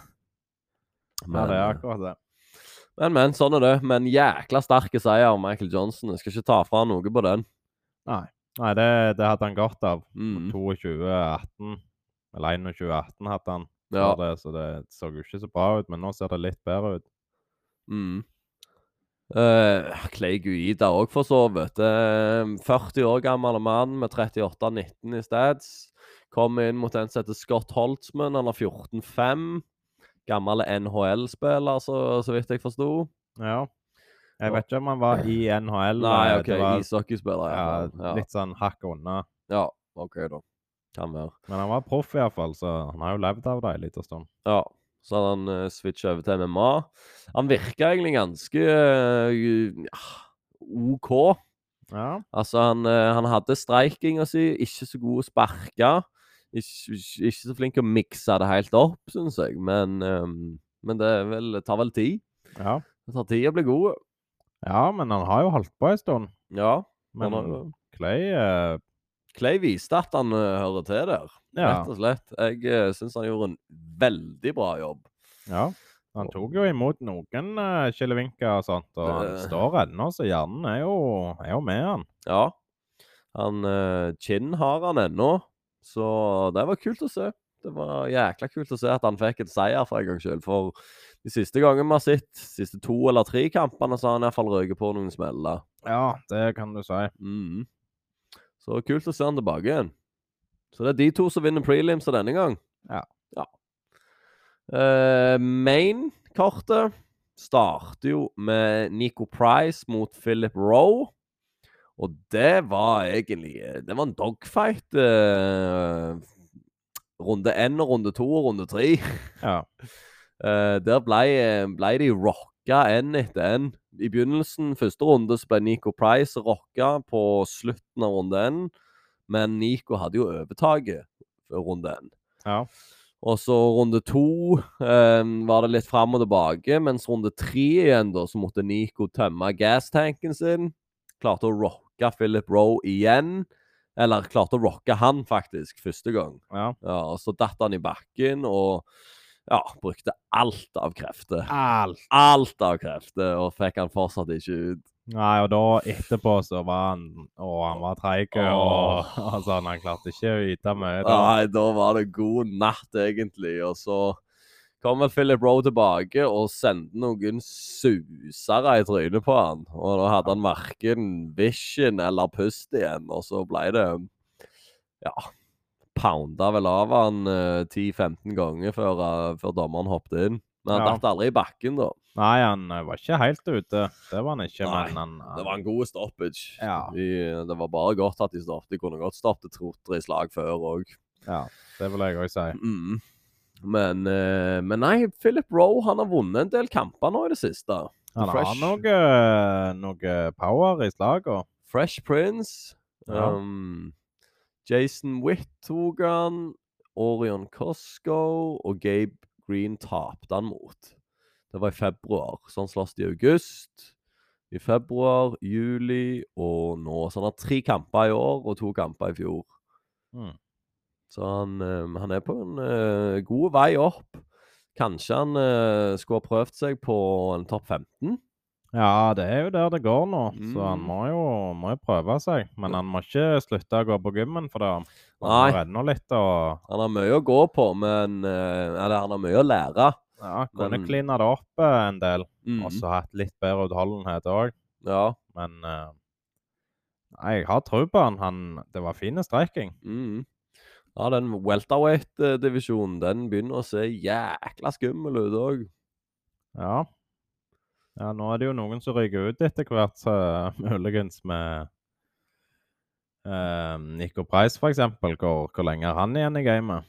[SPEAKER 1] Men,
[SPEAKER 2] det er
[SPEAKER 1] eh,
[SPEAKER 2] akkurat det.
[SPEAKER 1] men, men, sånn er det. Men jækla sterke seier av Michael Johnson. Jeg skal ikke ta fra han noe på den.
[SPEAKER 2] Nei, det, det hadde han godt av.
[SPEAKER 1] Mhm.
[SPEAKER 2] 22-18, eller 21-18 hadde han.
[SPEAKER 1] Ja.
[SPEAKER 2] før Det, så det så jo ikke så bra ut, men nå ser det litt bedre ut.
[SPEAKER 1] Mm. Uh, Clay Guida òg forsovet. Uh, 40 år gammel mann med 38-19 i stats. Kom inn mot en som heter Scott Holtzman. Han har 14-5. Gammel NHL-spiller, så, så vidt jeg forsto.
[SPEAKER 2] Ja. Jeg vet ikke om han var i NHL.
[SPEAKER 1] Nei,
[SPEAKER 2] eh,
[SPEAKER 1] OK,
[SPEAKER 2] det var,
[SPEAKER 1] ishockeyspiller.
[SPEAKER 2] ja,
[SPEAKER 1] Ja, ja.
[SPEAKER 2] litt sånn hakk unna.
[SPEAKER 1] ja, OK, da. Kan være.
[SPEAKER 2] Men han var proff, iallfall, så han har jo levd av det en liten stund.
[SPEAKER 1] Ja. Så hadde han uh, switcha over til MMA. Han virka egentlig ganske eh, ja, OK.
[SPEAKER 2] Ja.
[SPEAKER 1] Altså, han, eh, han hadde streikinga si, ikke så god å sparke. Ikke, ikke, ikke så flink å mikse det helt opp, syns jeg. Men, eh, men det er vel, tar vel tid.
[SPEAKER 2] ja.
[SPEAKER 1] Det tar tid å bli god.
[SPEAKER 2] Ja, men han har jo holdt på en stund.
[SPEAKER 1] Ja. han
[SPEAKER 2] Men
[SPEAKER 1] har-
[SPEAKER 2] Clay eh,
[SPEAKER 1] Clay viste at han eh, hører til der,
[SPEAKER 2] ja.
[SPEAKER 1] rett og slett. Jeg uh, syns han gjorde en veldig bra jobb.
[SPEAKER 2] ja. Han tok jo imot noen uh, skillevinker og sånt, og han
[SPEAKER 1] Det-
[SPEAKER 2] står ennå, så hjernen er jo, er jo med han.
[SPEAKER 1] Ja. Han eh, Kinn har han ennå, så det var kult å se. Det var jækla kult å se at han fikk en seier for en gangs skyld. For de siste gangene vi har sett, siste to eller tre kampene, så har han iallfall røket på noen smeller.
[SPEAKER 2] Ja, det kan du si.
[SPEAKER 1] Mhm. Så kult å se han tilbake igjen. Så det er de to som vinner prelimsa denne gang.
[SPEAKER 2] Ja.
[SPEAKER 1] ja. Eh, Main-kartet starter jo med Nico Price mot Philip Roe. Og det var egentlig eh, Det var en dogfight. eh, runde én og runde to og runde tre.
[SPEAKER 2] Ja.
[SPEAKER 1] Eh, der ble, ble de rocka en etter en. I begynnelsen, første runde, så ble Nico Price rocka på slutten av runde én. Men Nico hadde jo overtaket før runde én.
[SPEAKER 2] Ja.
[SPEAKER 1] Og så runde to eh, var det litt fram og tilbake, mens runde tre igjen, da, så måtte Nico tømme gasstanken sin. Klarte å rocke Philip Roe igjen. Eller klarte å rocke han, faktisk, første gang.
[SPEAKER 2] ja.
[SPEAKER 1] Ja, og så datt han i bakken og ja, brukte alt av krefter.
[SPEAKER 2] Alt.
[SPEAKER 1] Alt av krefter, og fikk han fortsatt ikke ut.
[SPEAKER 2] Nei, og da etterpå så var han Å, han var treig, og
[SPEAKER 1] Åh.
[SPEAKER 2] altså, han klarte ikke å yte mye. Da.
[SPEAKER 1] Nei, da var det god natt, egentlig. Og så kom vel Philip Roe tilbake og sendte noen susere i trynet på han. Og da hadde han verken vision eller pust igjen, og så ble det Ja. Pounda vel av han eh, 10-15 ganger før, eh, før dommeren hoppet inn. Men han
[SPEAKER 2] Ja.
[SPEAKER 1] datt aldri i bakken, da.
[SPEAKER 2] Nei, han eh, var ikke helt ute. Det var han ikke,
[SPEAKER 1] Nei,
[SPEAKER 2] men han, eh, han
[SPEAKER 1] Det var en god stoppage.
[SPEAKER 2] Ja.
[SPEAKER 1] De- det var bare godt at de stoppet. De kunne godt stoppet Trotter i slag før òg.
[SPEAKER 2] Ja, det vil jeg òg si.
[SPEAKER 1] Mm. Men, eh, men nei, Philip Roe han har vunnet en del kamper nå i det siste.
[SPEAKER 2] Han har
[SPEAKER 1] Fresh.
[SPEAKER 2] noe, noe eh, power i slaget.
[SPEAKER 1] Fresh Prince.
[SPEAKER 2] Ja.
[SPEAKER 1] Um, Jason Witt tok han. Orion Cosco og Gabe Green tapte han mot. Det var i februar, så han sloss i august. I februar, juli og nå. Så han har tre kamper i år og to kamper i fjor.
[SPEAKER 2] Mm.
[SPEAKER 1] Så han, eh, han er på en eh, god vei opp. Kanskje han eh, skulle ha prøvd seg på en topp 15?
[SPEAKER 2] Ja, det er jo der det går nå, så han
[SPEAKER 1] Mm.
[SPEAKER 2] må jo, må jo prøve seg. Men han må ikke slutte å gå på gymmen, for det han
[SPEAKER 1] Nei.
[SPEAKER 2] har ennå litt å
[SPEAKER 1] Han har mye å gå på, men eh, Eller han har mye å lære.
[SPEAKER 2] ja, Kunne
[SPEAKER 1] Men-
[SPEAKER 2] kline det opp eh, en del,
[SPEAKER 1] Mhm.
[SPEAKER 2] og så hatt litt bedre utholdenhet òg.
[SPEAKER 1] Ja.
[SPEAKER 2] Men eh, nei, jeg har tro på han. han. Det var fin streiking.
[SPEAKER 1] mhm. Ja, den welterweight-divisjonen, den begynner å se jækla skummel ut òg.
[SPEAKER 2] Ja. ja. Nå er det jo noen som ryker ut etter hvert, så muligens med eh, Nico Price, for eksempel. Hvor, hvor lenge er han igjen i gamet?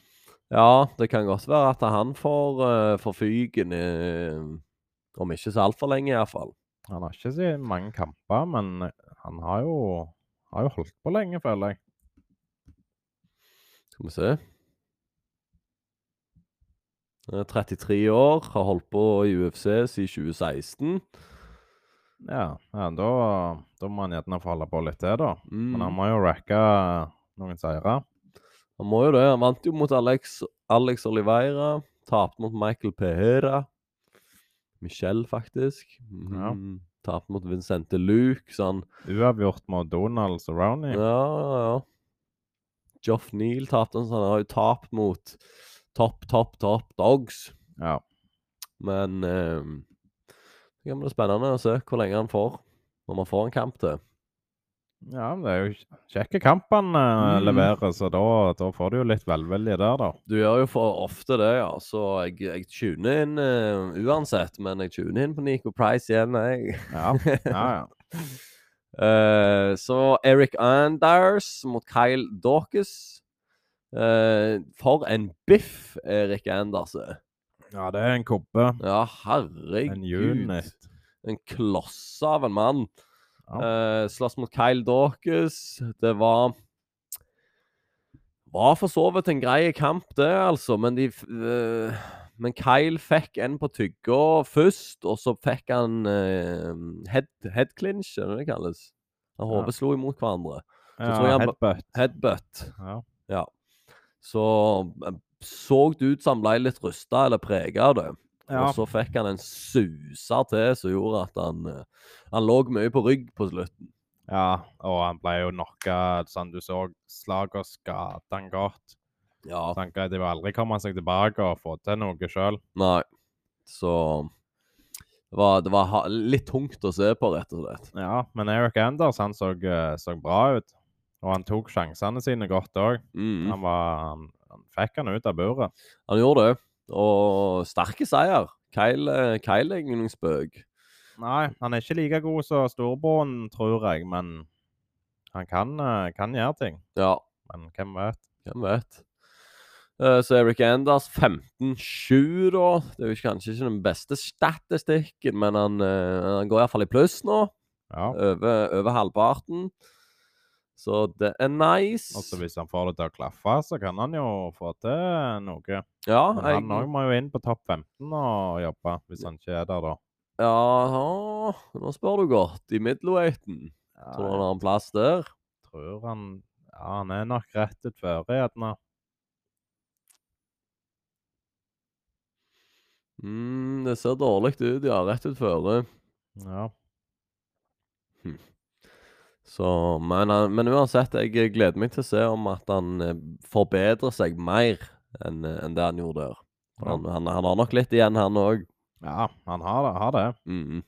[SPEAKER 1] Ja, det kan godt være at han får, eh, får fyken eh, om ikke så altfor lenge, iallfall.
[SPEAKER 2] Han har ikke så mange kamper, men han har jo, har jo holdt på lenge, føler jeg.
[SPEAKER 1] Skal vi se. Han er 33 år, har holdt på i UFC siden 2016.
[SPEAKER 2] Ja, ja da, da må han gjerne få holde på litt til, da. Men han
[SPEAKER 1] Mm.
[SPEAKER 2] må jo racke noen seire.
[SPEAKER 1] Han må jo det. Han vant jo mot Alex, Alex Oliveira. Tapte mot Michael Pereira. Michelle, faktisk.
[SPEAKER 2] Ja.
[SPEAKER 1] Mm. Tapte mot Vincente Luke, så han
[SPEAKER 2] Uavgjort mot Donald
[SPEAKER 1] Ja,
[SPEAKER 2] Cerrone.
[SPEAKER 1] ja, ja. Joff Neal tapte han, så han har jo tapt mot topp, topp, topp dogs.
[SPEAKER 2] Ja.
[SPEAKER 1] Men eh, ehm, det Ja, men det er spennende å se hvor lenge han får når man får en kamp til.
[SPEAKER 2] Ja, men det er jo kj- kjekke kamp han eh,
[SPEAKER 1] Mm.
[SPEAKER 2] leverer, så da, da får du jo litt velvilje der, da.
[SPEAKER 1] Du gjør jo for ofte det, ja. Så jeg, jeg tuner inn eh, uansett, men jeg tuner inn på Nico Price igjen, jeg.
[SPEAKER 2] Ja, ja. ja.
[SPEAKER 1] Eh, så Eric Anders mot Kyle Dawkins. Eh, for en biff Erik Anders er.
[SPEAKER 2] ja det er en kobbe.
[SPEAKER 1] Ja,
[SPEAKER 2] En
[SPEAKER 1] herregud.
[SPEAKER 2] unit.
[SPEAKER 1] En kloss av en mann.
[SPEAKER 2] Ja.
[SPEAKER 1] Eh, slåss mot Kyle Dawkins. Det var Var for så vidt en grei kamp, det, altså, men de f- eh, Men Kyle fikk en på tygga først, og så fikk han eh, head, head clinch, er det det kalles? Han
[SPEAKER 2] Ja.
[SPEAKER 1] hodet slo imot hverandre.
[SPEAKER 2] Ja,
[SPEAKER 1] tror jeg han-
[SPEAKER 2] headbutt.
[SPEAKER 1] Headbutt.
[SPEAKER 2] Ja.
[SPEAKER 1] Så eh, så det ut som han ble litt rusta eller prega av det.
[SPEAKER 2] Ja.
[SPEAKER 1] Og så fikk han en suser til som gjorde at han eh, Han lå mye på rygg på slutten.
[SPEAKER 2] ja, og han ble jo knocka, sånn du så slaget skadet han godt.
[SPEAKER 1] Ja,
[SPEAKER 2] Tenker jeg de vil aldri komme seg tilbake og få til noe sjøl.
[SPEAKER 1] Nei. Så det var, det var ha- litt tungt å se på, rett og slett.
[SPEAKER 2] Ja, men Eric Anders han så, eh, så bra ut. Og han tok sjansene sine godt òg.
[SPEAKER 1] Mm.
[SPEAKER 2] Han, var- han, han fikk han ut av buret.
[SPEAKER 1] Han gjorde det. Og sterke seier. eh, Kyle, Kyle er ingen spøk.
[SPEAKER 2] Nei, han er ikke like god som storebroren, tror jeg, men han kan, eh, kan gjøre ting.
[SPEAKER 1] Ja,
[SPEAKER 2] Men hvem vet?
[SPEAKER 1] hvem vet. Eh, Så Eric Anders 15-7, da. Det er jo ikke- kanskje ikke den beste statistikken, men han, eh, han går iallfall i pluss nå.
[SPEAKER 2] Ja.
[SPEAKER 1] Over, over halvparten. Så det er nice.
[SPEAKER 2] Altså, hvis han får det til å klaffe, så kan han jo få til noe.
[SPEAKER 1] ja,
[SPEAKER 2] Men
[SPEAKER 1] jeg-
[SPEAKER 2] han òg må jo inn på topp 15 og jobbe, hvis han ikke er der da.
[SPEAKER 1] Ja, nå spør du godt. I middleweighten. Tror du han har en plass der?
[SPEAKER 2] tror han Ja, han er nok rett ut før, gjerne.
[SPEAKER 1] Mm, det ser dårlig ut, ja. Rett ut føre.
[SPEAKER 2] Ja.
[SPEAKER 1] Så, men, han- men uansett, jeg eh, gleder meg til å se om at han eh, forbedrer seg mer enn eh, enn det han gjorde der. For
[SPEAKER 2] Ja.
[SPEAKER 1] Han, han, han har nok litt igjen, han òg.
[SPEAKER 2] ja, han har det. Har det.
[SPEAKER 1] Mhm.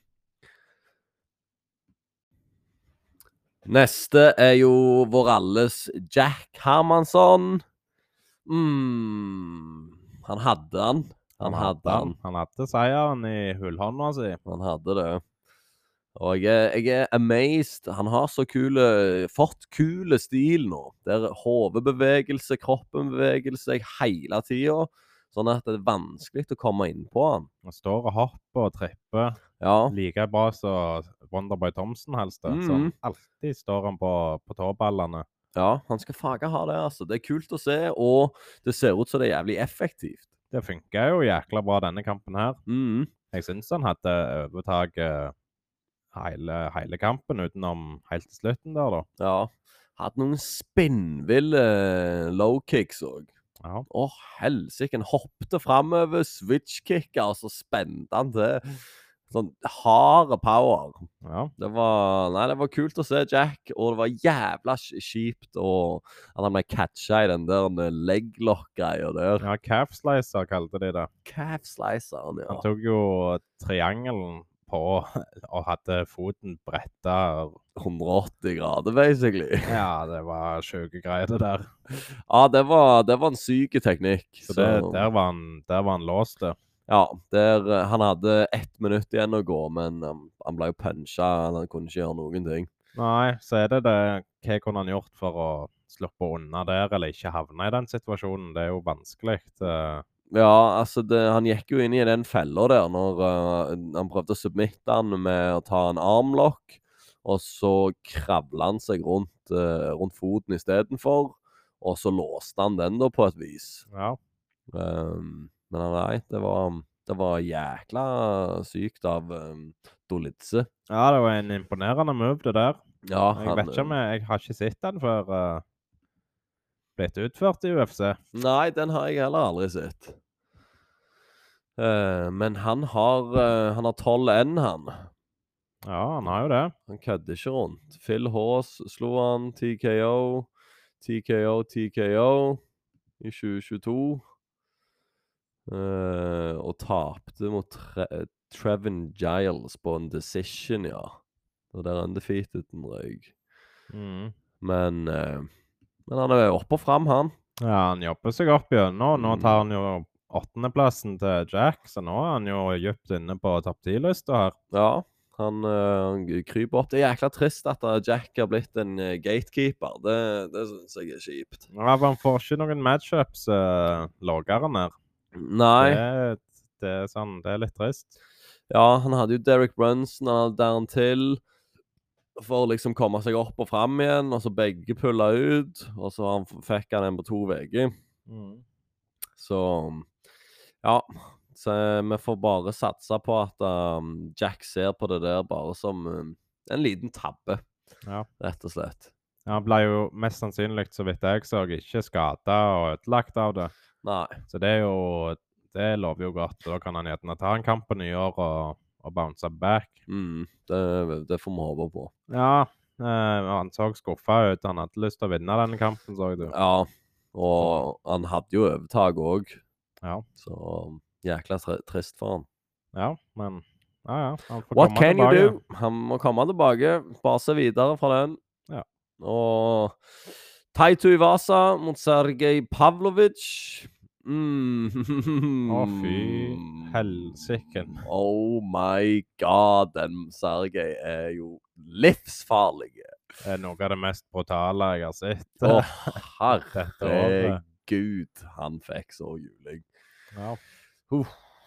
[SPEAKER 1] Neste er jo vår alles Jack Hermansson. Mm. Han hadde han. Han hadde han.
[SPEAKER 2] Han hadde seieren i hullhånda si.
[SPEAKER 1] Han hadde det. Og jeg er, jeg er amazed. Han har så kule, fått kule stil nå. Der hodebevegelse, kroppen bevegelse hele tida. Sånn at det er vanskelig å komme inn på han.
[SPEAKER 2] Han står og hopper og tripper
[SPEAKER 1] Ja.
[SPEAKER 2] like bra som Wonderboy Thomsen, helst. det. Så
[SPEAKER 1] Mhm.
[SPEAKER 2] alltid står han på, på tåballene.
[SPEAKER 1] Ja, han skal faga ha det, altså. Det er kult å se, og det ser ut som det er jævlig effektivt.
[SPEAKER 2] Det funka jo jækla bra, denne kampen her.
[SPEAKER 1] Mhm.
[SPEAKER 2] Jeg syns han hadde overtaket hele, hele kampen, utenom helt til slutten der, da.
[SPEAKER 1] Ja. Hatt noen spinnville eh, low kicks òg.
[SPEAKER 2] Ja.
[SPEAKER 1] Å, helsike. Han hoppte framover, switchkicka, og så spente han til. Sånn harde power.
[SPEAKER 2] ja.
[SPEAKER 1] Det var Nei, det var kult å se Jack, og det var jævla sk- kjipt å- at han ble catcha i den der leglock-greia der.
[SPEAKER 2] ja calf slicer kalte de det.
[SPEAKER 1] Calf sliceren, ja.
[SPEAKER 2] Han tok jo triangelen på og hadde foten bretta.
[SPEAKER 1] 180 grader, basically.
[SPEAKER 2] Ja, det var sjuke greier, det der.
[SPEAKER 1] Ja, det var, det var en syk teknikk.
[SPEAKER 2] Så det, der, var han, der var han låst, eh. det.
[SPEAKER 1] Ja, der, eh, han hadde ett minutt igjen å gå, men um, han ble jo punsja. Han kunne ikke gjøre noen ting.
[SPEAKER 2] Nei, så er det det Hva kunne han gjort for å sluppe unna der, eller ikke havne i den situasjonen? Det er jo vanskelig. eh.
[SPEAKER 1] Ja, altså, det, han gikk jo inn i den fella der når eh, han prøvde å submitte han med å ta en armlock, og så kravla han seg rundt, eh, rundt foten istedenfor, og så låste han den da på et vis.
[SPEAKER 2] Ja.
[SPEAKER 1] Um, men nei, det var, det var jækla sykt av um, Dolitze.
[SPEAKER 2] ja, det var en imponerende move, det der.
[SPEAKER 1] Ja, eh,
[SPEAKER 2] Jeg vet ikke om jeg, jeg har ikke sett den før eh, blitt utført i UFC.
[SPEAKER 1] Nei, den har jeg heller aldri sett. Eh, men han har eh, Han har 12-1, han.
[SPEAKER 2] Ja, han har jo det.
[SPEAKER 1] Han kødder ikke rundt. Phil Haas slo han TKO. TKO, TKO i 2022. Eh, og tapte mot Tre Trevin Giles på en decision, ja. Og der undefeateden røyk.
[SPEAKER 2] Mm.
[SPEAKER 1] Men, eh, men han er jo opp og fram, han.
[SPEAKER 2] Ja, han jobber seg opp gjennom. Nå
[SPEAKER 1] Mm.
[SPEAKER 2] tar han jo åttendeplassen til Jack, så nå er han jo dypt inne på topp ti-lista her.
[SPEAKER 1] Ja, han, eh, han kryper opp. Det er jækla trist at eh, Jack har blitt en eh, gatekeeper. Det, det syns jeg er kjipt.
[SPEAKER 2] Ja, for han får ikke noen matchups uh, lavere ned.
[SPEAKER 1] Nei.
[SPEAKER 2] Det, det, er sånn, det er litt trist.
[SPEAKER 1] Ja, han hadde jo Derek Brunson, han hadde Darren Till for å liksom komme seg opp og fram igjen, og så begge pulla ut, og så han, f- fikk han en på to uker. Mm. Så ja. Så eh, vi får bare satse på at um, Jack ser på det der bare som um, en liten tabbe,
[SPEAKER 2] Ja.
[SPEAKER 1] rett og slett.
[SPEAKER 2] Han ble jo mest sannsynlig, så vidt jeg så, ikke skada og ødelagt av det.
[SPEAKER 1] Nei.
[SPEAKER 2] Så det er jo Det lover jo godt. Da kan han gjerne ta en kamp på nyår og, og bounce back.
[SPEAKER 1] Mm, det, det får vi håpe på.
[SPEAKER 2] Ja, eh, han så skuffa ut. Han hadde lyst til å vinne denne kampen, så du.
[SPEAKER 1] Ja. Og han hadde jo overtak òg,
[SPEAKER 2] Ja.
[SPEAKER 1] så um, jækla tri- trist for han.
[SPEAKER 2] ja, men Ja, ja. Han får
[SPEAKER 1] What
[SPEAKER 2] komme
[SPEAKER 1] can
[SPEAKER 2] tilbake.
[SPEAKER 1] you do? Han må komme tilbake, base videre fra den.
[SPEAKER 2] Ja.
[SPEAKER 1] Og Taito Ivasa mot Sergej Pavlovic. Mm.
[SPEAKER 2] Å, fy helsiken.
[SPEAKER 1] Oh my god, den Sergej er jo livsfarlig.
[SPEAKER 2] Det er noe av det mest brutale jeg har sett. eh,
[SPEAKER 1] Å,
[SPEAKER 2] Dette året.
[SPEAKER 1] herregud, han fikk så juling.
[SPEAKER 2] Ja.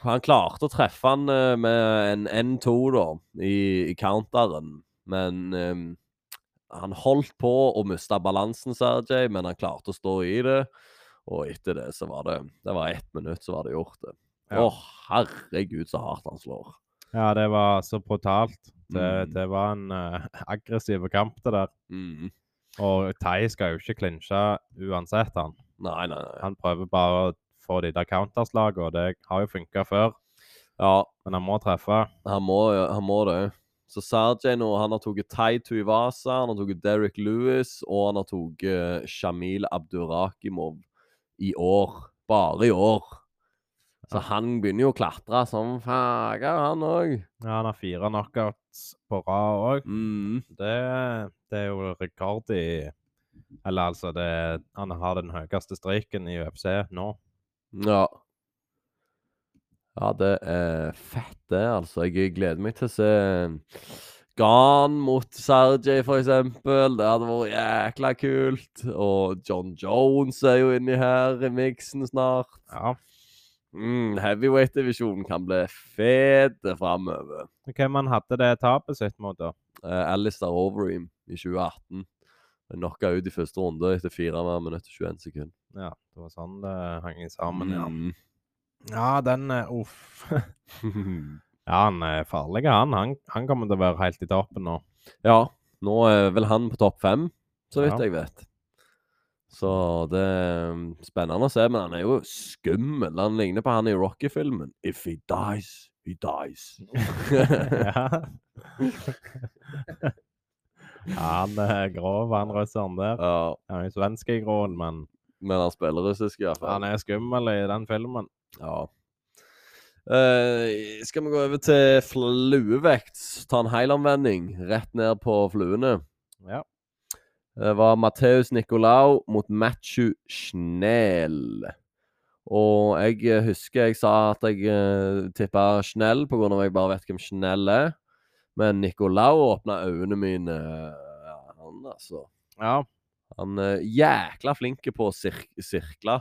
[SPEAKER 1] Han klarte å treffe han eh, med en N2 da, i, i counteren, men ehm, han holdt på å miste balansen, Sergej, men han klarte å stå i det. Og etter det så var det Det var ett minutt, så var det gjort. det. Å,
[SPEAKER 2] Ja.
[SPEAKER 1] herregud, så hardt han slår.
[SPEAKER 2] ja, det var så brutalt. Det,
[SPEAKER 1] Mm.
[SPEAKER 2] det var en eh, aggressiv kamp, det der.
[SPEAKER 1] Mm.
[SPEAKER 2] Og Tai skal jo ikke klinsje uansett, han.
[SPEAKER 1] Nei, nei, nei.
[SPEAKER 2] Han prøver bare å få de der counterslagene, og det har jo funka før.
[SPEAKER 1] Ja,
[SPEAKER 2] Men han må treffe.
[SPEAKER 1] han må, han må det. Så Sergej nå, han har tatt Tai Tuivasa, han har tatt Derek Lewis, og han har tatt eh, Shamil Abdurakimov i år. Bare i år. Så
[SPEAKER 2] Ja.
[SPEAKER 1] han begynner jo å klatre som fager, han òg.
[SPEAKER 2] Ja, han har fire knockouts på rad òg.
[SPEAKER 1] Mm.
[SPEAKER 2] Det, det er jo rekord i Eller altså, det, han har den høyeste streiken i UFC nå.
[SPEAKER 1] Ja. Ja, det er fett, det, altså. Jeg gleder meg til å se Gan mot Sergej, for eksempel. Det hadde vært jækla kult. Og John Jones er jo inni her i miksen snart.
[SPEAKER 2] Ja.
[SPEAKER 1] Mm, Heavyweight-divisjonen kan bli fet framover.
[SPEAKER 2] Hvem han hadde det tapet sitt mot, da?
[SPEAKER 1] Uh, Alistair Overeem i 2018. Ble Knocka ut i første runde etter 4 minutter og 21 sekunder.
[SPEAKER 2] Ja, det var sånn det hang sammen, ja.
[SPEAKER 1] Mm.
[SPEAKER 2] Ja, den er Uff.
[SPEAKER 1] Mm.
[SPEAKER 2] Ja, han er farlig, han. han. Han kommer til å være helt i toppen nå.
[SPEAKER 1] ja, nå er vel han på topp fem, så vidt
[SPEAKER 2] Ja.
[SPEAKER 1] jeg vet. Så det er mm, spennende å se, men han er jo skummel. Han ligner på han i Rocky-filmen. If he dies, he dies.
[SPEAKER 2] ja. ja, han er grov, han russeren der.
[SPEAKER 1] ja,
[SPEAKER 2] Han er jo svensk i grunnen, men
[SPEAKER 1] men han spiller russisk i hvert fall.
[SPEAKER 2] han er skummel i den filmen.
[SPEAKER 1] Ja. Eh, skal vi gå over til fluevekt? Ta en helomvending rett ned på fluene.
[SPEAKER 2] Ja.
[SPEAKER 1] Det var Matheus Nicolau mot Matthew Schnell. Og jeg eh, husker jeg sa at jeg uh, tippa Schnell pga. at jeg bare vet hvem Schnell er. Men Nicolau åpna øynene mine. Ja, han, altså.
[SPEAKER 2] ja.
[SPEAKER 1] Han er jækla flinke på å sir sirkle.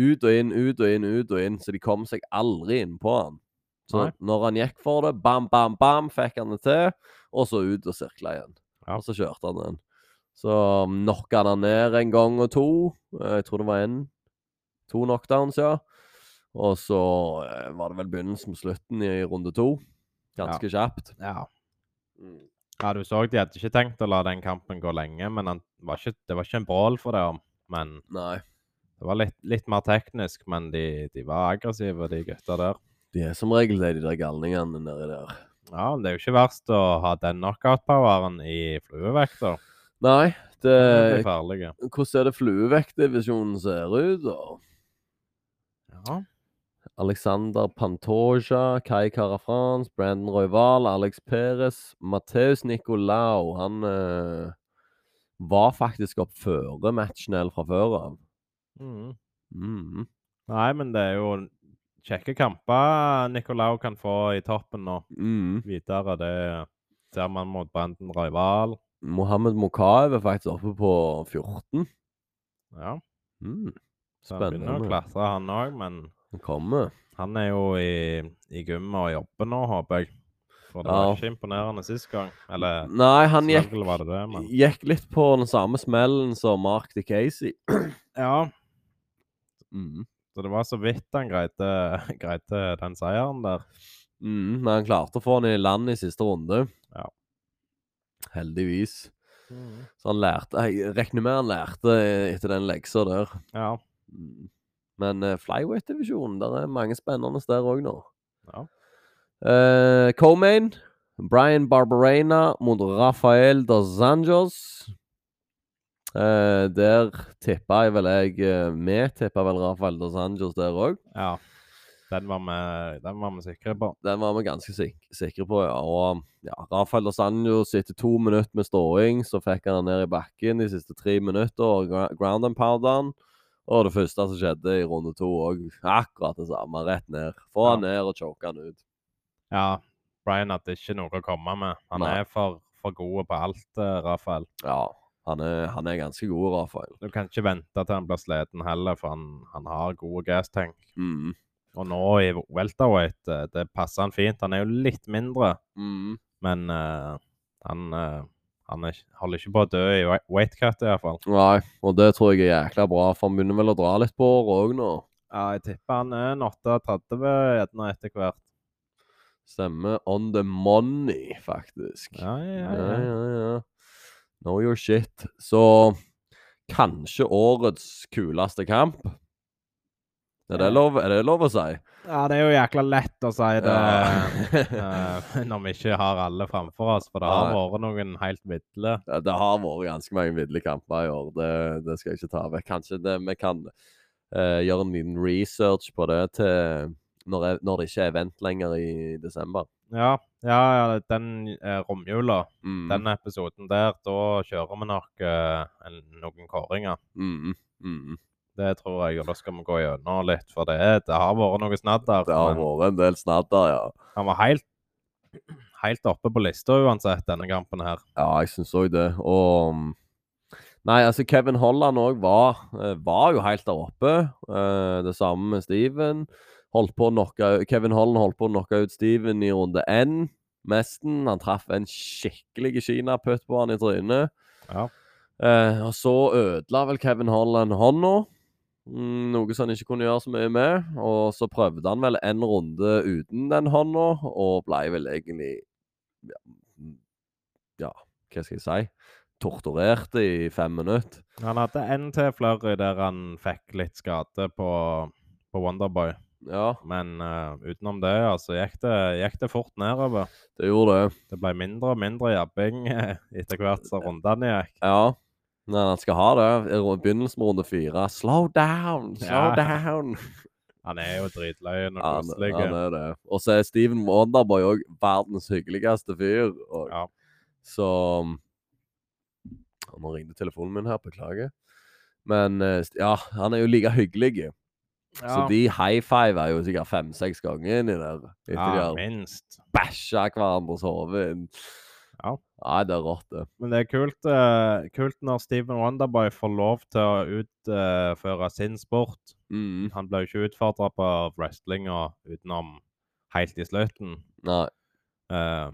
[SPEAKER 1] Ut og inn, ut og inn, ut og inn. Så de kom seg aldri innpå han. Så
[SPEAKER 2] Nei.
[SPEAKER 1] når han gikk for det, bam, bam, bam, fikk han det til. Og så ut og sirkle igjen.
[SPEAKER 2] Ja.
[SPEAKER 1] Og så kjørte han den. Så um, knocka han han ned en gang og to. Eh, Jeg tror det var én. To knockdowns, ja. Og så eh, var det vel begynnelsen på slutten i runde to. Ganske kjapt. Mm,
[SPEAKER 2] ja. Ja, du så de hadde ikke tenkt å la den kampen gå lenge, men han var ikke, det var ikke en brål for det. om. Men
[SPEAKER 1] Nei.
[SPEAKER 2] det var litt, litt mer teknisk, men de, de var aggressive, de gutta der.
[SPEAKER 1] De er som regel det, de der galningene nedi der.
[SPEAKER 2] Ja, men det er jo ikke verst å ha den knockout-poweren i fluevekta.
[SPEAKER 1] Nei, det,
[SPEAKER 2] Det blir farlige.
[SPEAKER 1] hvordan er det fluevektdivisjonen ser ut, da?
[SPEAKER 2] Ja.
[SPEAKER 1] Alexander Pantoja, Kai Kara-France, Brandon Royval, Alex Perez, Matheus Nicolau Han eh, var faktisk opp føre matchen eller fra før av.
[SPEAKER 2] Mhm.
[SPEAKER 1] Mhm.
[SPEAKER 2] Nei, men det er jo kjekke kamper Nicolau kan få i toppen nå
[SPEAKER 1] Mhm.
[SPEAKER 2] videre. Det ser man mot Branden Rival.
[SPEAKER 1] Mohammed Mokaev er faktisk oppe på 14.
[SPEAKER 2] Ja,
[SPEAKER 1] Mhm.
[SPEAKER 2] så han begynner å
[SPEAKER 1] Spennende.
[SPEAKER 2] klatre, han òg, men
[SPEAKER 1] Han kommer.
[SPEAKER 2] han er jo i, i gymmet og jobber nå, håper jeg. For det
[SPEAKER 1] Ja.
[SPEAKER 2] var ikke imponerende sist gang. Eller
[SPEAKER 1] Nei, han
[SPEAKER 2] som
[SPEAKER 1] gikk,
[SPEAKER 2] regel var det det, men
[SPEAKER 1] gikk litt på den samme smellen som Mark de Casey.
[SPEAKER 2] Ja,
[SPEAKER 1] Mhm.
[SPEAKER 2] så det var så vidt han greide, greide den seieren der.
[SPEAKER 1] Mm, men han klarte å få han i land i siste runde.
[SPEAKER 2] Ja.
[SPEAKER 1] Heldigvis. Så han lærte Jeg regner med han lærte eh, etter den leksa der.
[SPEAKER 2] Ja.
[SPEAKER 1] Mm. Men eh, flyweight-divisjonen, der er mange spennende der òg nå.
[SPEAKER 2] Ja.
[SPEAKER 1] Eh, Co-main, Brian Barbarena mot Rafael dos Anjos. Eh, der tippa jeg vel jeg eh, Vi tippa vel Rafael dos Anjos der òg.
[SPEAKER 2] ja. Den var vi, den var vi sikre på.
[SPEAKER 1] Den var vi ganske sik sikre på, ja. Og ja, Rafael Dos Anjos etter to minutter med ståing, så fikk han ned i bakken de siste tre minutter og gra- ground and pound han. Og det første som skjedde i runde to òg, akkurat det samme. Rett ned. Få han ned og choke han ut.
[SPEAKER 2] Ja, Brian hadde ikke noe å komme med. Han
[SPEAKER 1] Nei.
[SPEAKER 2] er for, for god på alt, eh, Rafael.
[SPEAKER 1] Ja, han er, han er ganske god, Rafael.
[SPEAKER 2] Du kan ikke vente til han blir sliten heller, for han, han har gode gasstank.
[SPEAKER 1] Mm.
[SPEAKER 2] Og nå i welterweight, eh, det passer han fint. Han er jo litt mindre,
[SPEAKER 1] Mm.
[SPEAKER 2] men eh, han, eh, han er, ikke- holder ikke på å dø i wei- weightcut i hvert fall.
[SPEAKER 1] Nei, og det tror jeg er jækla bra, for han begynner vel å dra litt på året òg nå.
[SPEAKER 2] Ja, jeg tipper han er en 38 gjerne etter hvert.
[SPEAKER 1] Stemmer on the money, faktisk.
[SPEAKER 2] Ja, ja,
[SPEAKER 1] Ja,
[SPEAKER 2] ja.
[SPEAKER 1] ja, ja. Know your shit. Så kanskje årets kuleste kamp. Er det
[SPEAKER 2] Ja.
[SPEAKER 1] lov, er det lov å si?
[SPEAKER 2] Ja, det er jo jækla lett å si det
[SPEAKER 1] Ja.
[SPEAKER 2] eh, når vi ikke har alle framfor oss, for det har vært noen helt vidle.
[SPEAKER 1] Ja, Det har vært ganske mange ville kamper i år. Det, det skal jeg ikke ta vekk. Kanskje det, vi kan eh, gjøre en liten research på det til når, jeg, når det ikke er event lenger i desember.
[SPEAKER 2] Ja, ja, ja den eh, romjula,
[SPEAKER 1] Mm,
[SPEAKER 2] den episoden der, da kjører vi nok eh, en- noen kåringer.
[SPEAKER 1] mm, mm.
[SPEAKER 2] Det tror jeg, og da skal vi gå gjennom litt, for det, er, det har vært noe snadder.
[SPEAKER 1] Det har
[SPEAKER 2] men
[SPEAKER 1] vært en del snadder, ja.
[SPEAKER 2] Han var helt, helt oppe på lista uansett, denne kampen her.
[SPEAKER 1] Ja, jeg syns òg det. Og mm, Nei, altså Kevin Holland òg var, eh, var jo helt der oppe. Eh, Det samme med Steven. Holdt på å knocke, Kevin Holland holdt på å knocke ut Steven i runde N, nesten. Han traff en skikkelig kinaputt på han i trynet.
[SPEAKER 2] Ja.
[SPEAKER 1] Eh, og så ødela vel Kevin Holland hånda. Mm, noe som han ikke kunne gjøre så mye med. Og så prøvde han vel en runde uten den hånda, og ble vel egentlig ja, mm, ja, hva skal jeg si Torturert i fem minutter.
[SPEAKER 2] Han hadde en til flurry der han fikk litt skade på, på Wonderboy.
[SPEAKER 1] Ja,
[SPEAKER 2] Men eh, utenom det, altså, gikk det, gikk det fort nedover.
[SPEAKER 1] det gjorde det.
[SPEAKER 2] Det ble mindre og mindre jabbing eh, etter hvert som rundene gikk.
[SPEAKER 1] Ja. Men han skal ha det. I ru- begynnelsen med runde fire. Slow down! Slow
[SPEAKER 2] Ja.
[SPEAKER 1] down!
[SPEAKER 2] Han er jo dritløyen og
[SPEAKER 1] Ja, Han,
[SPEAKER 2] koselig.
[SPEAKER 1] han er det. Og så er Steven Wonderboy òg verdens hyggeligste fyr. Og,
[SPEAKER 2] Ja.
[SPEAKER 1] Så um, og Nå ringte telefonen min her, beklager. Men eh, st- ja, han er jo like hyggelig. Så
[SPEAKER 2] Ja.
[SPEAKER 1] de high five er jo sikkert fem-seks ganger inni der. Etter de
[SPEAKER 2] ja,
[SPEAKER 1] har
[SPEAKER 2] minst.
[SPEAKER 1] bæsja hverandres hode inn.
[SPEAKER 2] Ja.
[SPEAKER 1] Nei, det er rått, det.
[SPEAKER 2] Men det er kult, eh, kult når Steven Wonderboy får lov til å utføre sin sport.
[SPEAKER 1] Mm.
[SPEAKER 2] Han ble jo ikke utfordra på wrestlinga utenom helt i slutten.
[SPEAKER 1] Nei.
[SPEAKER 2] Eh,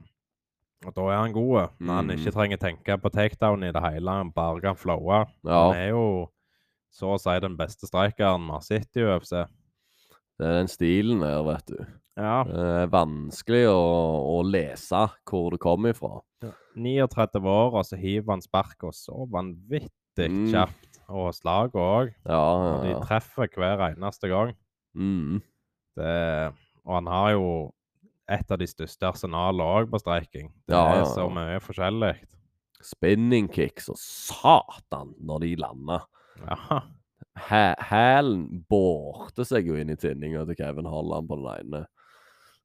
[SPEAKER 2] og da er han god, når han
[SPEAKER 1] Mhm.
[SPEAKER 2] ikke trenger tenke på takedown i det hele. Han bare kan flowe.
[SPEAKER 1] Ja.
[SPEAKER 2] Han er jo så å si den beste strikeren vi har sett i UFC.
[SPEAKER 1] Det er den stilen der, vet du.
[SPEAKER 2] Ja.
[SPEAKER 1] Det er vanskelig å, å lese hvor det kommer ifra.
[SPEAKER 2] 39 år, og så hiver han sparka så vanvittig
[SPEAKER 1] Mm.
[SPEAKER 2] kjapt. Og slaget òg.
[SPEAKER 1] Ja,
[SPEAKER 2] Og de
[SPEAKER 1] ja. ja.
[SPEAKER 2] treffer hver eneste gang.
[SPEAKER 1] Mm.
[SPEAKER 2] Det, og han har jo et av de største arsenalene òg på streiking. Det
[SPEAKER 1] Ja, ja,
[SPEAKER 2] er
[SPEAKER 1] ja.
[SPEAKER 2] så mye forskjellig.
[SPEAKER 1] Spinning kicks og satan når de lander.
[SPEAKER 2] Ja.
[SPEAKER 1] hæ- hælen bårte seg jo inn i tinninga til Kevin Holland på den ene.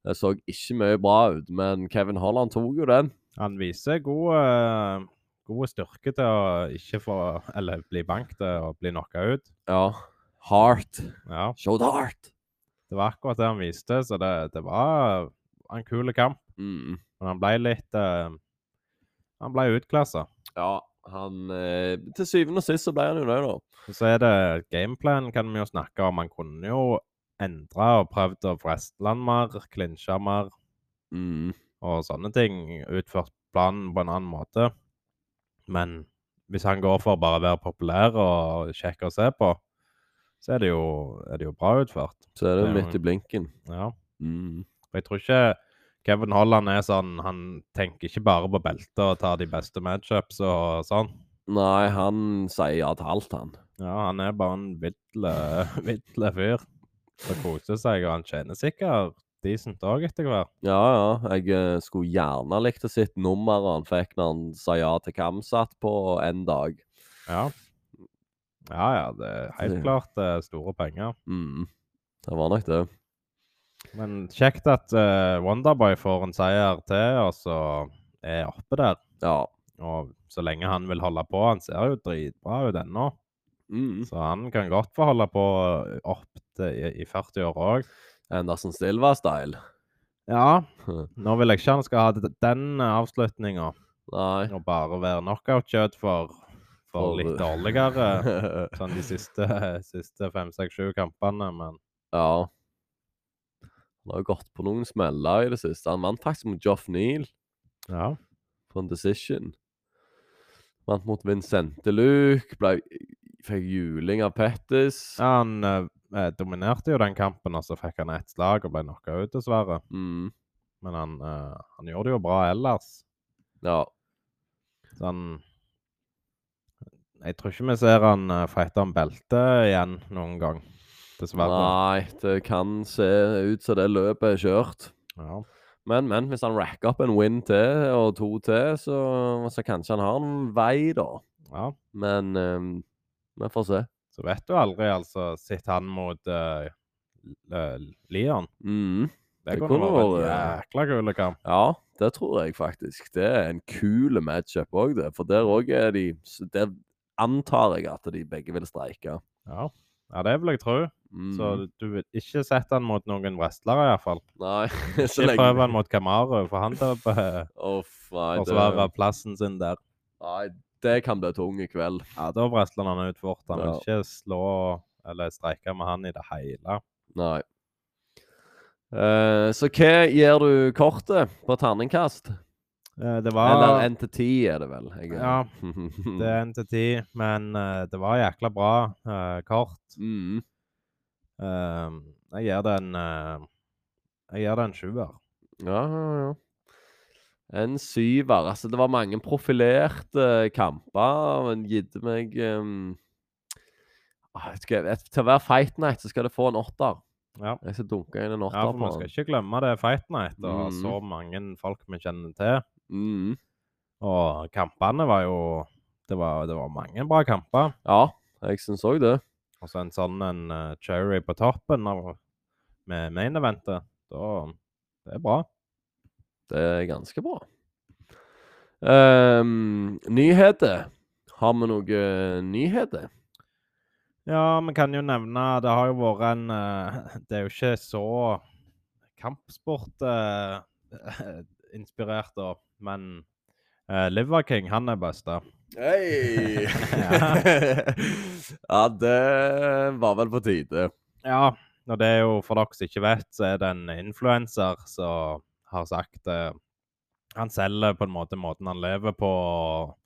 [SPEAKER 1] Det så ikke mye bra ut, men Kevin Holland tok jo den.
[SPEAKER 2] Han viser god, eh, god styrke til å ikke få Eller bli banket og bli knocka ut.
[SPEAKER 1] Ja. Heart.
[SPEAKER 2] Ja,
[SPEAKER 1] Showed heart.
[SPEAKER 2] det var akkurat det han viste, så det, det var en kul kamp.
[SPEAKER 1] Mm.
[SPEAKER 2] Men han ble litt eh, Han ble utklassa.
[SPEAKER 1] Ja, han eh, Til syvende og sist så ble han jo det, da.
[SPEAKER 2] Og Så er det gameplan kan vi jo snakke om. Han kunne jo endre og prøvd å wrestle han mer, klinsje mer
[SPEAKER 1] Mm.
[SPEAKER 2] og sånne ting. Utført planen på en annen måte. Men hvis han går for bare å være populær og kjekk å se på, så er det jo, er det jo bra utført.
[SPEAKER 1] Så er det
[SPEAKER 2] Det er jo-
[SPEAKER 1] midt i blinken.
[SPEAKER 2] Ja.
[SPEAKER 1] Mm.
[SPEAKER 2] Og jeg tror ikke Kevin Holland er sånn Han tenker ikke bare på beltet og tar de beste matchups og sånn.
[SPEAKER 1] Nei, han sier ja til alt, han.
[SPEAKER 2] Ja, han er bare en vidle, vidle fyr som koser seg, og han tjener sikkert decent òg etter hvert.
[SPEAKER 1] Ja, ja. Jeg eh, skulle gjerne likt å sett nummeret han fikk når han sa ja til Kamsat på en dag.
[SPEAKER 2] Ja. ja, ja, det er helt
[SPEAKER 1] Det-
[SPEAKER 2] klart eh, store penger.
[SPEAKER 1] Mm. Det var nok det.
[SPEAKER 2] Men kjekt at eh, Wonderboy får en seier til, og så er jeg oppe der.
[SPEAKER 1] Ja.
[SPEAKER 2] Og så lenge han vil holde på Han ser jo dritbra ut ennå,
[SPEAKER 1] Mm.
[SPEAKER 2] så han kan godt få holde på eh, opp til, i, i 40 år òg.
[SPEAKER 1] Andersen Silva-style.
[SPEAKER 2] Ja.
[SPEAKER 1] Hm.
[SPEAKER 2] Nå vil jeg ikke han skal ha d- den eh, avslutninga.
[SPEAKER 1] Nei.
[SPEAKER 2] å bare være knockout-kjøtt for, for
[SPEAKER 1] For-
[SPEAKER 2] litt dårligere sånn de siste, siste fem, seks, sju kampene. Men
[SPEAKER 1] Ja. Han har jo gått på noen smeller i det siste. Han vant faktisk mot Joff Neal
[SPEAKER 2] ja,
[SPEAKER 1] på en decision. Vant mot Vincente Luke. Ble, fikk juling av Pettis.
[SPEAKER 2] han eh, dominerte jo den kampen, og så fikk han ett slag og ble knocka ut, dessverre.
[SPEAKER 1] Mm.
[SPEAKER 2] Men han, eh, han gjorde det jo bra ellers.
[SPEAKER 1] Ja.
[SPEAKER 2] Så han Jeg tror ikke vi ser han eh, fighte om beltet igjen noen gang, dessverre.
[SPEAKER 1] Nei, det kan se ut som det løpet er kjørt.
[SPEAKER 2] Ja.
[SPEAKER 1] Men, men hvis han racker opp en win til og to til, så, så kanskje han har en vei, da.
[SPEAKER 2] ja.
[SPEAKER 1] Men ehm, vi får se.
[SPEAKER 2] Så vet du aldri, altså. Sitter han mot eh, L- eh, Leon?
[SPEAKER 1] Mhm.
[SPEAKER 2] Det,
[SPEAKER 1] Det
[SPEAKER 2] kunne
[SPEAKER 1] kunne
[SPEAKER 2] vært eh, en
[SPEAKER 1] vært-
[SPEAKER 2] jækla kul kamp.
[SPEAKER 1] Ja, det tror jeg faktisk. Det er en kul matchup òg, det. For der òg er de s- Der antar jeg at de begge vil streike.
[SPEAKER 2] Ja. ja, det vil jeg tro.
[SPEAKER 1] Mhm.
[SPEAKER 2] Så du vil ikke sette han mot noen wrestlere, iallfall.
[SPEAKER 1] Nei, så
[SPEAKER 2] Ikke prøv
[SPEAKER 1] lenge
[SPEAKER 2] han mot Kamaru, for han tar på
[SPEAKER 1] Uff, nei.
[SPEAKER 2] forsvarer
[SPEAKER 1] Det,
[SPEAKER 2] plassen sin der.
[SPEAKER 1] nei, det kan bli tung i kveld.
[SPEAKER 2] Ja, Da wrestler han ut fort. Han vil
[SPEAKER 1] Ja.
[SPEAKER 2] ikke slå eller streike med han i det hele.
[SPEAKER 1] Nei. Eh, så hva gir du kortet på terningkast?
[SPEAKER 2] Eh,
[SPEAKER 1] Eller
[SPEAKER 2] Det var
[SPEAKER 1] N til 10 er det vel? Jeg,
[SPEAKER 2] Ja, det er 1 til 10, men eh, det var jækla bra eh, kort.
[SPEAKER 1] Mhm.
[SPEAKER 2] Ehm, Jeg gir det en eh, Jeg gir det en sjuer.
[SPEAKER 1] Ja, ja, ja. En syver. Altså, det var mange profilerte kamper, men gitte meg ehm, ah, vet ikke, jeg vet- Til hver fight night så skal det få en åtter.
[SPEAKER 2] Ja.
[SPEAKER 1] Jeg skal dunke inn en
[SPEAKER 2] Ja,
[SPEAKER 1] åtter
[SPEAKER 2] for
[SPEAKER 1] på
[SPEAKER 2] vi skal
[SPEAKER 1] den.
[SPEAKER 2] ikke glemme det er Fight Night og
[SPEAKER 1] Mhm.
[SPEAKER 2] så mange folk vi kjenner til.
[SPEAKER 1] Mhm.
[SPEAKER 2] Og kampene var jo Det var, det var mange bra kamper.
[SPEAKER 1] Ja, jeg syns òg det.
[SPEAKER 2] Og så en sånn en eh, cherry på toppen av, med main eventet. Da Det er bra.
[SPEAKER 1] Det er ganske bra. Ehm, nyheter. Har vi noen nyheter?
[SPEAKER 2] Ja, vi kan jo nevne Det har jo vært en eh, Det er jo ikke så kampsport-inspirert, da. eh, Men eh, Liver King, han er besta.
[SPEAKER 1] Hei!
[SPEAKER 2] Ja.
[SPEAKER 1] ja, det var vel på tide.
[SPEAKER 2] Ja, og det er jo for dere som ikke vet, så er det en influenser som har sagt eh, Han selger på en måte måten han lever på, og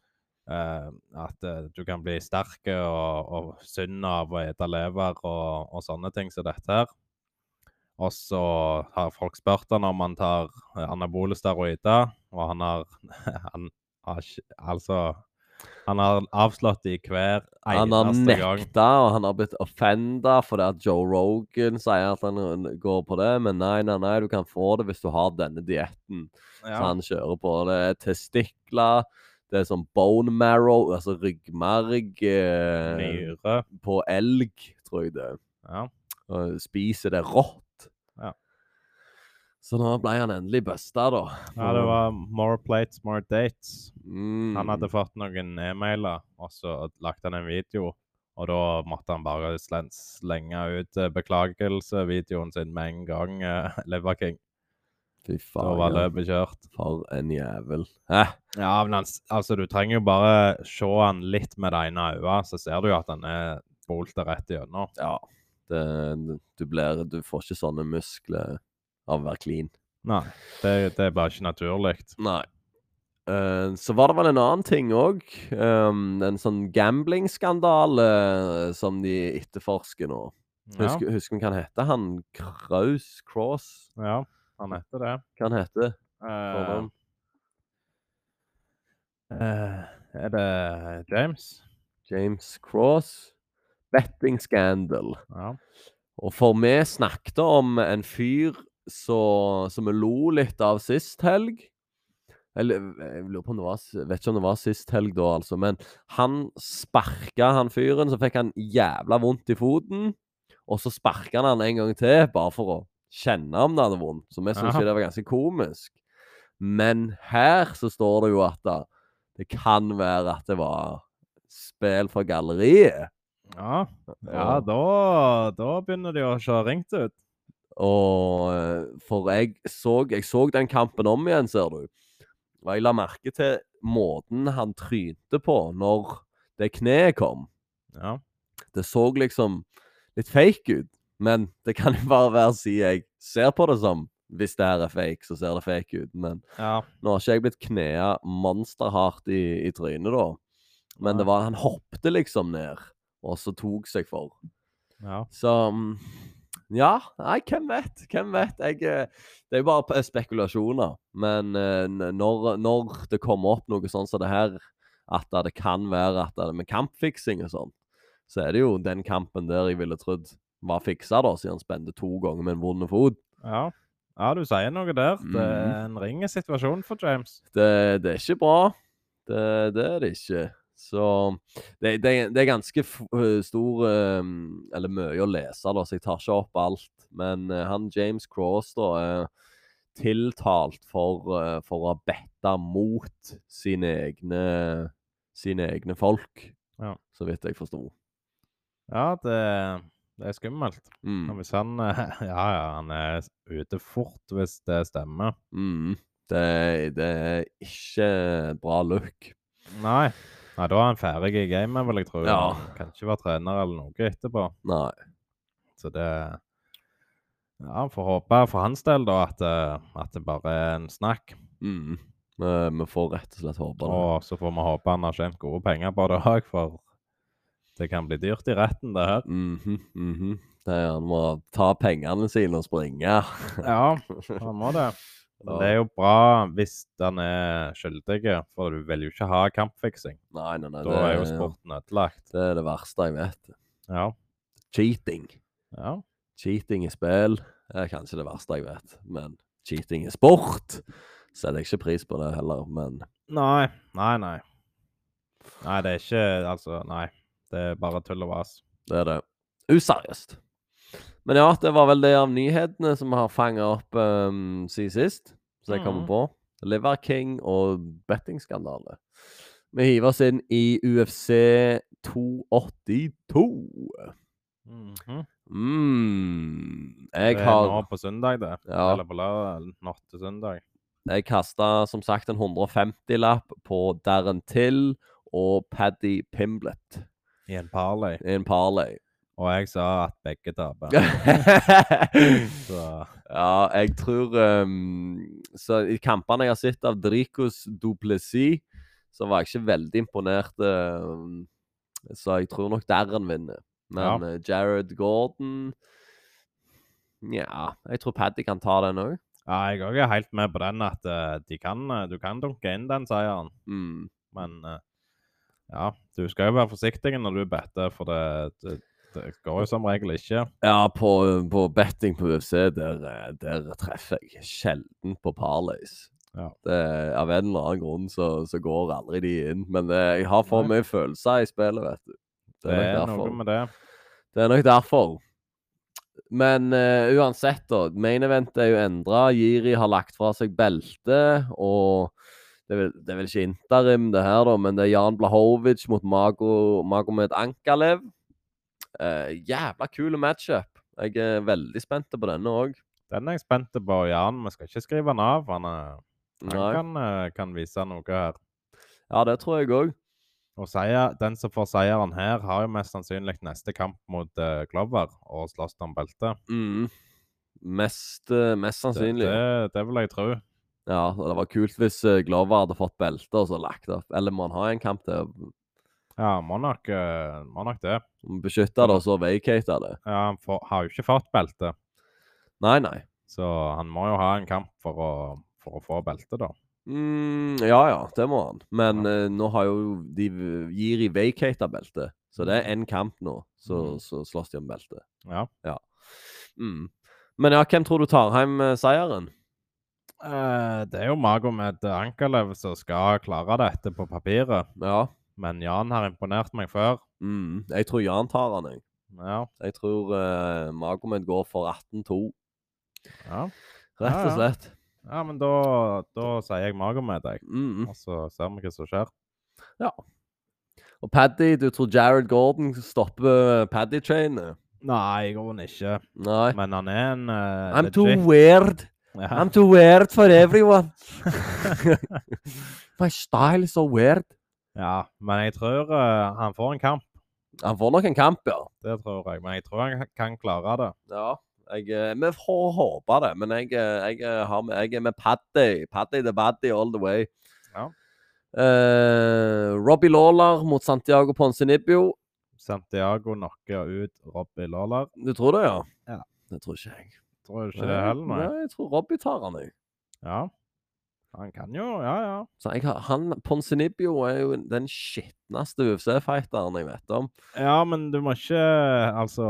[SPEAKER 2] eh, at eh, du kan bli sterk og, og sunn av å ete lever og, og sånne ting som dette her. Og så har folk spurt han om han tar eh, anabole steroider, og han har Han har ikke Altså Han har avslått de hver
[SPEAKER 1] Han har
[SPEAKER 2] eneste gang.
[SPEAKER 1] nekta, og han har blitt offenda fordi at Joe Rogan sier at han uh, går på det, men nei, nei, nei, du kan få det hvis du har denne dietten. Så
[SPEAKER 2] Ja.
[SPEAKER 1] han kjører på det. Testikler, Det er sånn bone marrow, altså ryggmarg eh,
[SPEAKER 2] Nyre.
[SPEAKER 1] på elg, tror jeg det er.
[SPEAKER 2] Ja.
[SPEAKER 1] Og spiser det rått.
[SPEAKER 2] Ja.
[SPEAKER 1] Så nå ble han endelig busta, da.
[SPEAKER 2] ja, det var more plates, more dates.
[SPEAKER 1] Mm.
[SPEAKER 2] Han hadde fått noen e-mailer, og så lagde han en video. Og da måtte han bare slen- slenge ut eh, beklagelse-videoen sin med en gang. eh, Lever King.
[SPEAKER 1] Fy
[SPEAKER 2] Da
[SPEAKER 1] faen. ja.
[SPEAKER 2] var løpet kjørt.
[SPEAKER 1] For en jævel. Hæ?
[SPEAKER 2] Ja, men han, s- altså, du trenger jo bare se han litt med det ene øyet, så ser du jo at han er bolta rett igjennom.
[SPEAKER 1] Ja. Det, du, blir, du får ikke sånne muskler av å være clean.
[SPEAKER 2] Nei, det, det er bare ikke naturlig.
[SPEAKER 1] Nei. Eh, så var det vel en annen ting òg. en sånn gamblingskandale eh, som de etterforsker nå.
[SPEAKER 2] Ja,
[SPEAKER 1] Husker, husker vi hva han heter? Han Kraus? Cross?
[SPEAKER 2] ja han heter det.
[SPEAKER 1] Hva han heter
[SPEAKER 2] Eh,
[SPEAKER 1] Fornavn.
[SPEAKER 2] eh, er det James?
[SPEAKER 1] James Cross? Betting scandal.
[SPEAKER 2] Ja.
[SPEAKER 1] Og for vi snakket om en fyr så- som vi lo litt av sist helg. Eller jeg lurer på om det var, s- vet ikke om det var sist helg da, altså. Men han sparka han fyren, så fikk han jævla vondt i foten. Og så sparka han han en gang til, bare for å kjenne om det hadde vondt. Så vi syntes
[SPEAKER 2] Aha.
[SPEAKER 1] jo det var ganske komisk. Men her så står det jo at det, det kan være at det var spill for galleriet.
[SPEAKER 2] Ja, ja
[SPEAKER 1] Og-
[SPEAKER 2] da, da begynner de å se ringt ut.
[SPEAKER 1] Og eh, For jeg så, jeg så den kampen om igjen, ser du. Og jeg la merke til måten han trynte på når det kneet kom.
[SPEAKER 2] Ja.
[SPEAKER 1] Det så liksom litt fake ut. Men det kan jo bare være siden jeg ser på det som Hvis det her er fake, så ser det fake ut. Men
[SPEAKER 2] ja.
[SPEAKER 1] nå har ikke jeg blitt knea monsterhardt i, i trynet, da. Men det var, han hoppte liksom ned, og så tok seg for.
[SPEAKER 2] ja.
[SPEAKER 1] Så mm, ja, nei, hvem vet? Hvem vet? Jeg, eh, det er jo bare p- spekulasjoner. Men eh, n- når, når det kommer opp noe sånn som det her, at da det kan være at det er med kampfiksing og sånn, så er det jo den kampen der jeg ville trodd var fiksa, da, siden han spente to ganger med en vond fot.
[SPEAKER 2] ja. Ja, du sier noe der. Det er
[SPEAKER 1] Mhm.
[SPEAKER 2] en ringe situasjon for James.
[SPEAKER 1] Det, det er ikke bra. Det, det er det ikke. Så det, det, det er ganske f øh, stor øh, Eller mye å lese, da, så jeg tar ikke opp alt. Men eh, han James Cross da, er tiltalt for, eh, for å ha betta mot sine egne, sine egne folk,
[SPEAKER 2] Ja.
[SPEAKER 1] så vidt jeg forsto.
[SPEAKER 2] Ja, det, det er skummelt. Og
[SPEAKER 1] Mm.
[SPEAKER 2] Hvis han eh, Ja, ja, han er ute fort hvis det stemmer.
[SPEAKER 1] Mm. Det, det er ikke bra look.
[SPEAKER 2] Nei. Nei, da er han ferdig i gamet, vil jeg tro.
[SPEAKER 1] Ja.
[SPEAKER 2] Han Kan ikke være trener eller noe etterpå.
[SPEAKER 1] Nei.
[SPEAKER 2] Så det Ja, får håpe for hans del, da, at, eh, at det bare er en snakk.
[SPEAKER 1] Mm. Eh, Vi får rett og slett håpe det.
[SPEAKER 2] Og så får vi håpe han har tjent gode penger på det òg, for det kan bli dyrt i retten, det her.
[SPEAKER 1] Mhm, mhm. Det er, han må ta pengene sine og springe.
[SPEAKER 2] Ja, han må det. Men det er jo bra hvis han er skyldig, for du vil jo ikke ha kampfiksing.
[SPEAKER 1] Nei, nei, nei.
[SPEAKER 2] Da er jo sporten ødelagt.
[SPEAKER 1] det er det verste jeg vet.
[SPEAKER 2] Ja.
[SPEAKER 1] Cheating.
[SPEAKER 2] ja.
[SPEAKER 1] Cheating i spill er kanskje det verste jeg vet. Men cheating i sport setter jeg ikke pris på det heller. Men
[SPEAKER 2] Nei. Nei, nei. Nei, det er ikke Altså, nei. Det er bare tull og vas.
[SPEAKER 1] det er det. Useriøst. Men ja, det var vel det av nyhetene som vi har fanga opp um, siden sist, som jeg kommer
[SPEAKER 2] Mhm.
[SPEAKER 1] på. Liver King og bettingskandale. Vi hiver oss inn i UFC 282. Mm. Jeg
[SPEAKER 2] Mhm. det er nå
[SPEAKER 1] har
[SPEAKER 2] på søndag, det.
[SPEAKER 1] Ja.
[SPEAKER 2] Eller på lørdag. eller Natt til søndag.
[SPEAKER 1] Jeg kasta som sagt en 150-lapp på Darren Till og Paddy Pimblet
[SPEAKER 2] I en parlay.
[SPEAKER 1] i en parlay.
[SPEAKER 2] Og jeg sa at begge taper.
[SPEAKER 1] ja,
[SPEAKER 2] Så
[SPEAKER 1] jeg tror ehm, Så i kampene jeg har sett av Dricus Duplessis, så var jeg ikke veldig imponert. ehm, så jeg tror nok Darren vinner. Men eh, Jared Gordon Nja, jeg tror Paddy kan ta den òg.
[SPEAKER 2] ja, jeg òg er helt med på den at eh, de kan, eh, du kan dunke inn den seieren.
[SPEAKER 1] Mm.
[SPEAKER 2] Men eh, ja, du skal jo være forsiktig når du better, for det, det, det går jo som regel ikke.
[SPEAKER 1] Ja, på, på betting på UFC, der, eh, der treffer jeg sjelden på parlays.
[SPEAKER 2] Ja.
[SPEAKER 1] Det, av en eller annen grunn så, så går aldri de inn. Men det, jeg har for
[SPEAKER 2] Nei.
[SPEAKER 1] mye følelser i spillet, vet du.
[SPEAKER 2] Det er
[SPEAKER 1] nok derfor.
[SPEAKER 2] noe med det.
[SPEAKER 1] Det er nok derfor. Men eh, uansett, da. Main event er jo endra. Jiri har lagt fra seg beltet. Og det er, vel, det er vel ikke interim, det her, da, men det er Jan Blahovic mot Mago, Magomed Ankalev. Eh, jævla kul matchup. Jeg er veldig spent på denne òg.
[SPEAKER 2] Den er jeg spent på, Jan. Vi skal ikke skrive han av. Han, er, han kan, eh, kan vise noe her.
[SPEAKER 1] Ja, det tror jeg òg.
[SPEAKER 2] Og seier, den som får seieren her, har jo mest sannsynlig neste kamp mot eh, Glover og slåss om beltet.
[SPEAKER 1] Mm. Mest, eh, mest
[SPEAKER 2] Det,
[SPEAKER 1] sannsynlig.
[SPEAKER 2] det, det vil jeg tro.
[SPEAKER 1] Ja, og det var kult hvis eh, Glover hadde fått belte og så lagt opp. Eller må han ha en kamp til å
[SPEAKER 2] Ja, må nok, eh, må nok det.
[SPEAKER 1] beskytte det, og så vacate det?
[SPEAKER 2] Ja, han får, har jo ikke fått belte,
[SPEAKER 1] Nei, nei.
[SPEAKER 2] så han må jo ha en kamp for å, for å få belte, da.
[SPEAKER 1] Mm, ja, ja, det må han. Men eh, nå har jo de Giri vacata beltet, så
[SPEAKER 2] Mm.
[SPEAKER 1] det er én kamp nå. Så,
[SPEAKER 2] Mhm.
[SPEAKER 1] så slåss de om beltet.
[SPEAKER 2] Ja.
[SPEAKER 1] Mm. Men ja, hvem tror du tar hjem eh, seieren?
[SPEAKER 2] Eh, det er jo Magomed Ankalev som skal klare dette på papiret,
[SPEAKER 1] Ja.
[SPEAKER 2] men Jan har imponert meg før.
[SPEAKER 1] Mm. Jeg tror Jan tar han, jeg.
[SPEAKER 2] Ja,
[SPEAKER 1] Jeg tror uh, Magomed går for 18-2,
[SPEAKER 2] ja.
[SPEAKER 1] rett
[SPEAKER 2] Ja,
[SPEAKER 1] og
[SPEAKER 2] ja.
[SPEAKER 1] slett.
[SPEAKER 2] ja men da, da sier jeg Magomed, jeg.
[SPEAKER 1] Mm.
[SPEAKER 2] Og så ser vi hva som skjer.
[SPEAKER 1] Og Paddy, du tror Jared Gordon stopper eh, Paddy-trainet?
[SPEAKER 2] Nei, jeg går ikke.
[SPEAKER 1] Nei.
[SPEAKER 2] Men han er en eh,
[SPEAKER 1] I'm too
[SPEAKER 2] legit-
[SPEAKER 1] weird.
[SPEAKER 2] Ja.
[SPEAKER 1] I'm too weird for everyone. My style is so weird.
[SPEAKER 2] ja, men jeg tror eh, han får en kamp.
[SPEAKER 1] Han får nok en kamp, ja.
[SPEAKER 2] Det tror jeg. Men jeg tror han kan klare det.
[SPEAKER 1] Ja, jeg, eh, vi får håpe det. Men jeg, eh, jeg, eh, har med, jeg er med Paddy. Paddy the Baddy all the way.
[SPEAKER 2] Ja.
[SPEAKER 1] Eh, Robbie Lawler mot Santiago Ponzinibbio.
[SPEAKER 2] Santiago knocker ut Robbie Lawler.
[SPEAKER 1] Du tror det, ja?
[SPEAKER 2] Ja.
[SPEAKER 1] Det tror ikke jeg.
[SPEAKER 2] Tror du ikke det heller, nei?
[SPEAKER 1] Nei, jeg tror Robbie tar han, jeg.
[SPEAKER 2] Ja. Han kan jo, ja, ja.
[SPEAKER 1] Så jeg har, han, Ponzinibbio er jo den skitneste UFC-fighteren jeg vet om.
[SPEAKER 2] Ja, men du må ikke Altså,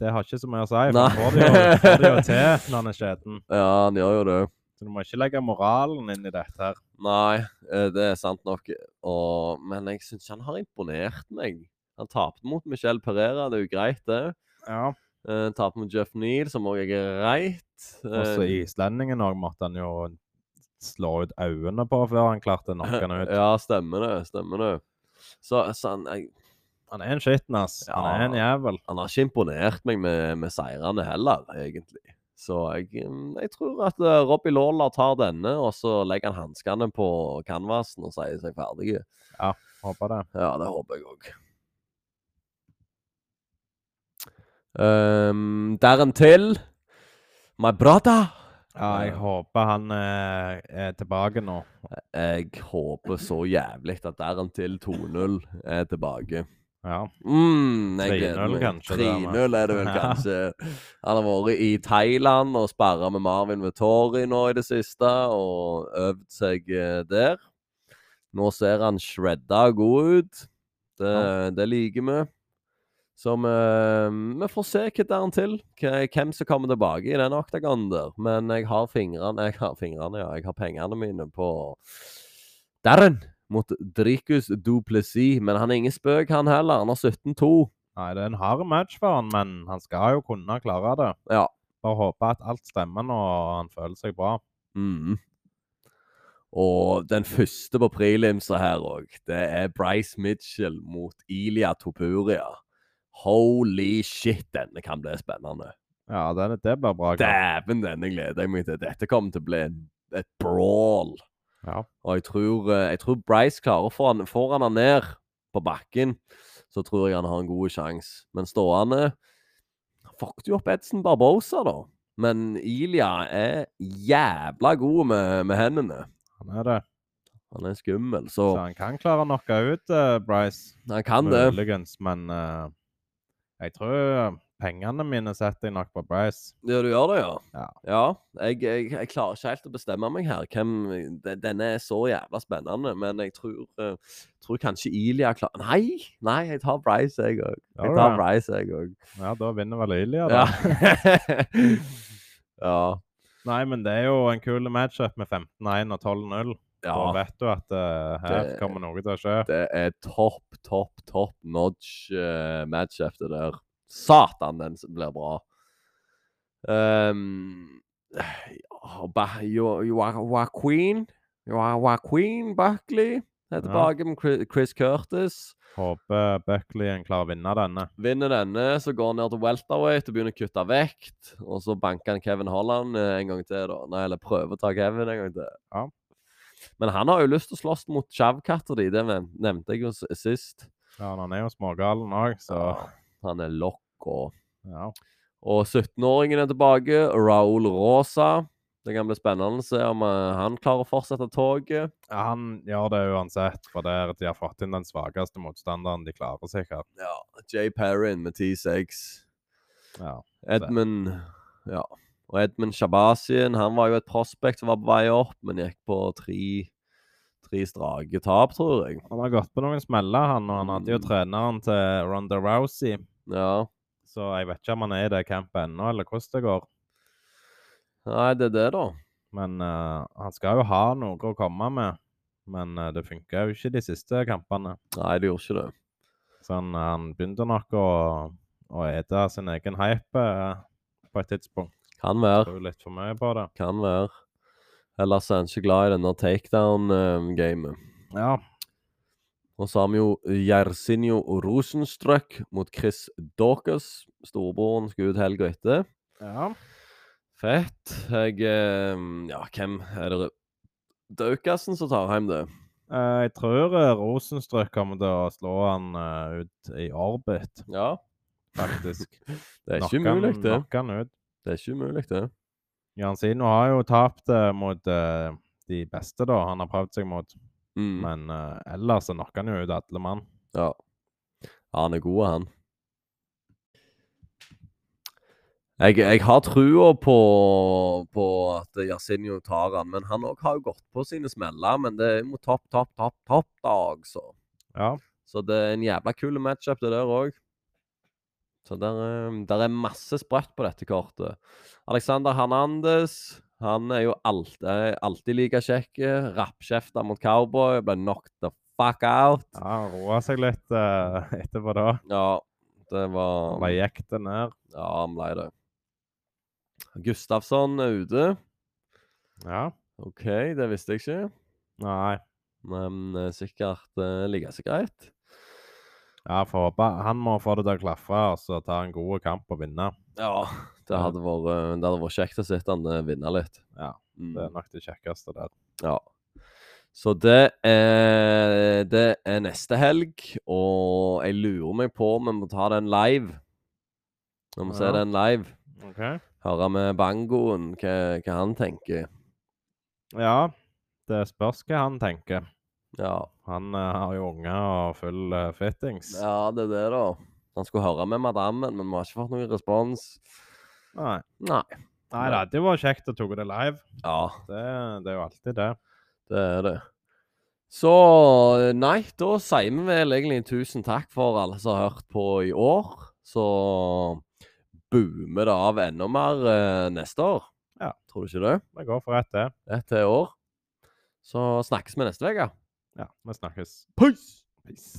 [SPEAKER 2] det har ikke så mye å si. for
[SPEAKER 1] Nei.
[SPEAKER 2] Han får det jo, får det jo til når han er skjeten.
[SPEAKER 1] Ja, han gjør jo det.
[SPEAKER 2] Så du må ikke legge moralen inn i dette her.
[SPEAKER 1] Nei, eh, det er sant nok. Og, men jeg syns han har imponert meg. Han tapte mot Michel Perera, det er jo greit, det.
[SPEAKER 2] Ja.
[SPEAKER 1] Uh, Taper mot Jeff Neal, som òg er greit.
[SPEAKER 2] Og så
[SPEAKER 1] Eh,
[SPEAKER 2] islendingen òg måtte han jo slå ut øynene på før han klarte å knocke han ut.
[SPEAKER 1] Ja, stemmer det. Stemmer det. Så, så han, jeg,
[SPEAKER 2] Han er en skitten, ass. Han er en jævel.
[SPEAKER 1] han har ikke imponert meg med, med seirene heller, egentlig. Så jeg, mm, jeg tror at eh, Robbie Lawler tar denne, og så legger han hanskene på canvasen og sier seg ferdig.
[SPEAKER 2] Håper det.
[SPEAKER 1] Ja, det håper jeg òg. Ehm, Derentil My brother.
[SPEAKER 2] Ja, jeg
[SPEAKER 1] Eh,
[SPEAKER 2] håper han eh, er tilbake nå.
[SPEAKER 1] Jeg håper så jævlig at Darren til 2-0 er tilbake.
[SPEAKER 2] Ja.
[SPEAKER 1] Mm, jeg gleder
[SPEAKER 2] 3-0
[SPEAKER 1] meg.
[SPEAKER 2] kanskje det er med.
[SPEAKER 1] 3-0 er det vel
[SPEAKER 2] Ja.
[SPEAKER 1] kanskje. Han har vært i Thailand og sparra med Marvin Vettori nå i det siste og øvd seg eh, der. Nå ser han shredda og god ut. Det, det liker vi. Så vi, vi får se hva der han til, hva- hvem som kommer tilbake i den oktagonen der. Men jeg har fingrene, jeg har fingrene, ja, jeg har pengene mine på Darren mot Dricus Duplessis. Men han er ingen spøk, han heller. Han har 17-2.
[SPEAKER 2] Nei, det er en hard match for han, men han skal jo kunne klare det.
[SPEAKER 1] Ja.
[SPEAKER 2] Bare håpe at alt stemmer nå, og han føler seg bra.
[SPEAKER 1] Mhm. Og den første på prelimsa her òg, det er Bryce Mitchell mot Ilia Topuria. Holy shit, denne kan bli spennende.
[SPEAKER 2] Ja, det, det blir bra. kamp.
[SPEAKER 1] Dæven, denne gleder jeg meg til. Dette kommer til å bli en, et brawl.
[SPEAKER 2] Ja.
[SPEAKER 1] Og jeg tror, eh, jeg tror Bryce klarer å få han, får han han ned på bakken, så tror jeg han har en god sjanse. Men stående han fucket jo opp Edson Barbosa, da. Men Ilia er jævla god med, med hendene.
[SPEAKER 2] Han er det.
[SPEAKER 1] Han er skummel,
[SPEAKER 2] Så
[SPEAKER 1] så
[SPEAKER 2] han kan klare å knocke ut eh, Bryce.
[SPEAKER 1] han kan det.
[SPEAKER 2] Muligens, men eh, jeg tror eh, pengene mine setter jeg nok på Bryce.
[SPEAKER 1] Ja, du gjør det, ja?
[SPEAKER 2] Ja.
[SPEAKER 1] jeg, jeg, jeg klarer ikke helt å bestemme meg her. Hvem, de- denne er så jævla spennende, men jeg tror, eh, tror kanskje Ilia klarer Nei! Nei, jeg tar Bryce, jeg òg.
[SPEAKER 2] Gjør
[SPEAKER 1] Jeg
[SPEAKER 2] du
[SPEAKER 1] tar
[SPEAKER 2] det?
[SPEAKER 1] Bryce, jeg òg.
[SPEAKER 2] Ja, da vinner vel Ilya, da.
[SPEAKER 1] Ja. ja.
[SPEAKER 2] Nei, men det er jo en kul matchup med 15-1 og 12-0. Da
[SPEAKER 1] Ja,
[SPEAKER 2] vet du at eh, her
[SPEAKER 1] Det-
[SPEAKER 2] kommer noe til å skje.
[SPEAKER 1] det er topp, topp, topp notch eh, matchup, det der. Satan, den s- blir bra. Um, ja, Ba- Jo- Jo- Joaquin Jo- Joaquin Buckley er tilbake med Chri- Chris Curtis.
[SPEAKER 2] Håper Buckley klarer å vinne denne.
[SPEAKER 1] Vinner denne, så går han ned til welterweight og begynner å kutte vekt. Og så banker han Kevin Holland eh, en gang til, da. Nei, eller prøver å ta Kevin en gang til.
[SPEAKER 2] Ja.
[SPEAKER 1] Men han har jo lyst til å slåss mot sjavkatter, de. Det nev- nevnte jeg jo s- sist.
[SPEAKER 2] Ja, men han er jo smågalen òg, så
[SPEAKER 1] Han er lokk og
[SPEAKER 2] ja.
[SPEAKER 1] Og 17-åringen er tilbake. Raúl Rosa. Det kan bli spennende å se om eh, han klarer å fortsette toget.
[SPEAKER 2] Ja, Han gjør det uansett, for der de har fått inn den svakeste motstanderen de klarer, sikkert.
[SPEAKER 1] Ja, Jay Perrin med 10-6.
[SPEAKER 2] Ja.
[SPEAKER 1] Edmund Ja. Og Edmund Shabasian, han var jo et prospect som var på vei opp, men gikk på tre, tre strake tap, tror jeg.
[SPEAKER 2] Han har gått på noen smeller, han, og han hadde jo
[SPEAKER 1] Mm.
[SPEAKER 2] treneren til Ronda Rousey,
[SPEAKER 1] Ja.
[SPEAKER 2] så jeg vet ikke om han er i det campet ennå, eller hvordan det går.
[SPEAKER 1] Nei, det er det, da.
[SPEAKER 2] Men eh, han skal jo ha noe å komme med. Men eh, det funka jo ikke de siste kampene.
[SPEAKER 1] Nei, det gjorde ikke det.
[SPEAKER 2] Så han, han begynte nok å, å ete sin egen hype eh, på et tidspunkt.
[SPEAKER 1] Kan være.
[SPEAKER 2] Tror litt for mye på det.
[SPEAKER 1] Kan være. Ellers er han ikke glad i denne eh, takedown-gamet.
[SPEAKER 2] Ja,
[SPEAKER 1] Og så har vi jo Jersinio Rosenstrøk mot Chris Dawkins. Storebroren skal ut helga etter.
[SPEAKER 2] ja.
[SPEAKER 1] Fett. Jeg eh, Ja, hvem er det Daukassen som tar hjem det?
[SPEAKER 2] Eh, jeg tror eh, Rosenstrøk kommer til å slå han eh, ut i orbit,
[SPEAKER 1] Ja.
[SPEAKER 2] faktisk.
[SPEAKER 1] Det er ikke
[SPEAKER 2] Knocke han-
[SPEAKER 1] umulig, det.
[SPEAKER 2] knocke han ut.
[SPEAKER 1] Det er ikke umulig, det.
[SPEAKER 2] Jansino har jo tapt eh, mot eh, de beste, da, han har prøvd seg mot.
[SPEAKER 1] Mm.
[SPEAKER 2] Men eh, ellers så knocker han jo ut alle mann.
[SPEAKER 1] Ja. ja. Han er god, han. Jeg, jeg har trua på, på at Yasinio tar han, men han òg har jo gått på sine smeller. Men det er mot topp, topp, topp, topp, da, altså.
[SPEAKER 2] Ja.
[SPEAKER 1] Så det er en jævla kul matchup, det der òg. Så der, er- der er masse sprøtt på dette kortet. Alexander Hernandez han er jo alt- er alltid like kjekk. Rappkjefta mot cowboy. Ble knocked the fuck out.
[SPEAKER 2] Ja, han roa seg litt eh, etterpå da.
[SPEAKER 1] Ja, det var
[SPEAKER 2] Bare gikk det ned.
[SPEAKER 1] Ja, han ble det. Gustavsson er ute.
[SPEAKER 2] Ja.
[SPEAKER 1] OK, det visste jeg ikke.
[SPEAKER 2] Nei.
[SPEAKER 1] Men eh, sikkert eh, like så greit.
[SPEAKER 2] Ja, får håpe han må få det til å klaffe og så ta en god kamp og vinne.
[SPEAKER 1] Ja, det hadde vært, eh, det hadde vært kjekt å se han eh, vinne litt.
[SPEAKER 2] Ja,
[SPEAKER 1] Mm.
[SPEAKER 2] Det er nok det kjekkeste der.
[SPEAKER 1] Ja. Så det er, det er neste helg, og jeg lurer meg på om vi må ta den live. Vi må se
[SPEAKER 2] Ja.
[SPEAKER 1] den live.
[SPEAKER 2] Ok.
[SPEAKER 1] Høre med Bangoen hva, hva han tenker.
[SPEAKER 2] Ja, det spørs hva han tenker.
[SPEAKER 1] Ja.
[SPEAKER 2] Han eh, har jo unger og full eh, fittings.
[SPEAKER 1] Ja, det er det, da. Han skulle høre med madammen, men vi har ikke fått noen respons.
[SPEAKER 2] Nei.
[SPEAKER 1] Nei.
[SPEAKER 2] Nei, det hadde jo vært kjekt å ta det live.
[SPEAKER 1] Ja,
[SPEAKER 2] Det, det er jo alltid det.
[SPEAKER 1] det er det. Så eh, nei, da sier vi vel egentlig tusen takk for alle som har hørt på i år. Så boomer det av enda mer eh, neste år.
[SPEAKER 2] Ja.
[SPEAKER 1] Tror du ikke det?
[SPEAKER 2] Vi går for rett, det.
[SPEAKER 1] Ett til år. Så snakkes vi neste uke.
[SPEAKER 2] Ja, vi snakkes.
[SPEAKER 1] Peace!
[SPEAKER 2] Peace.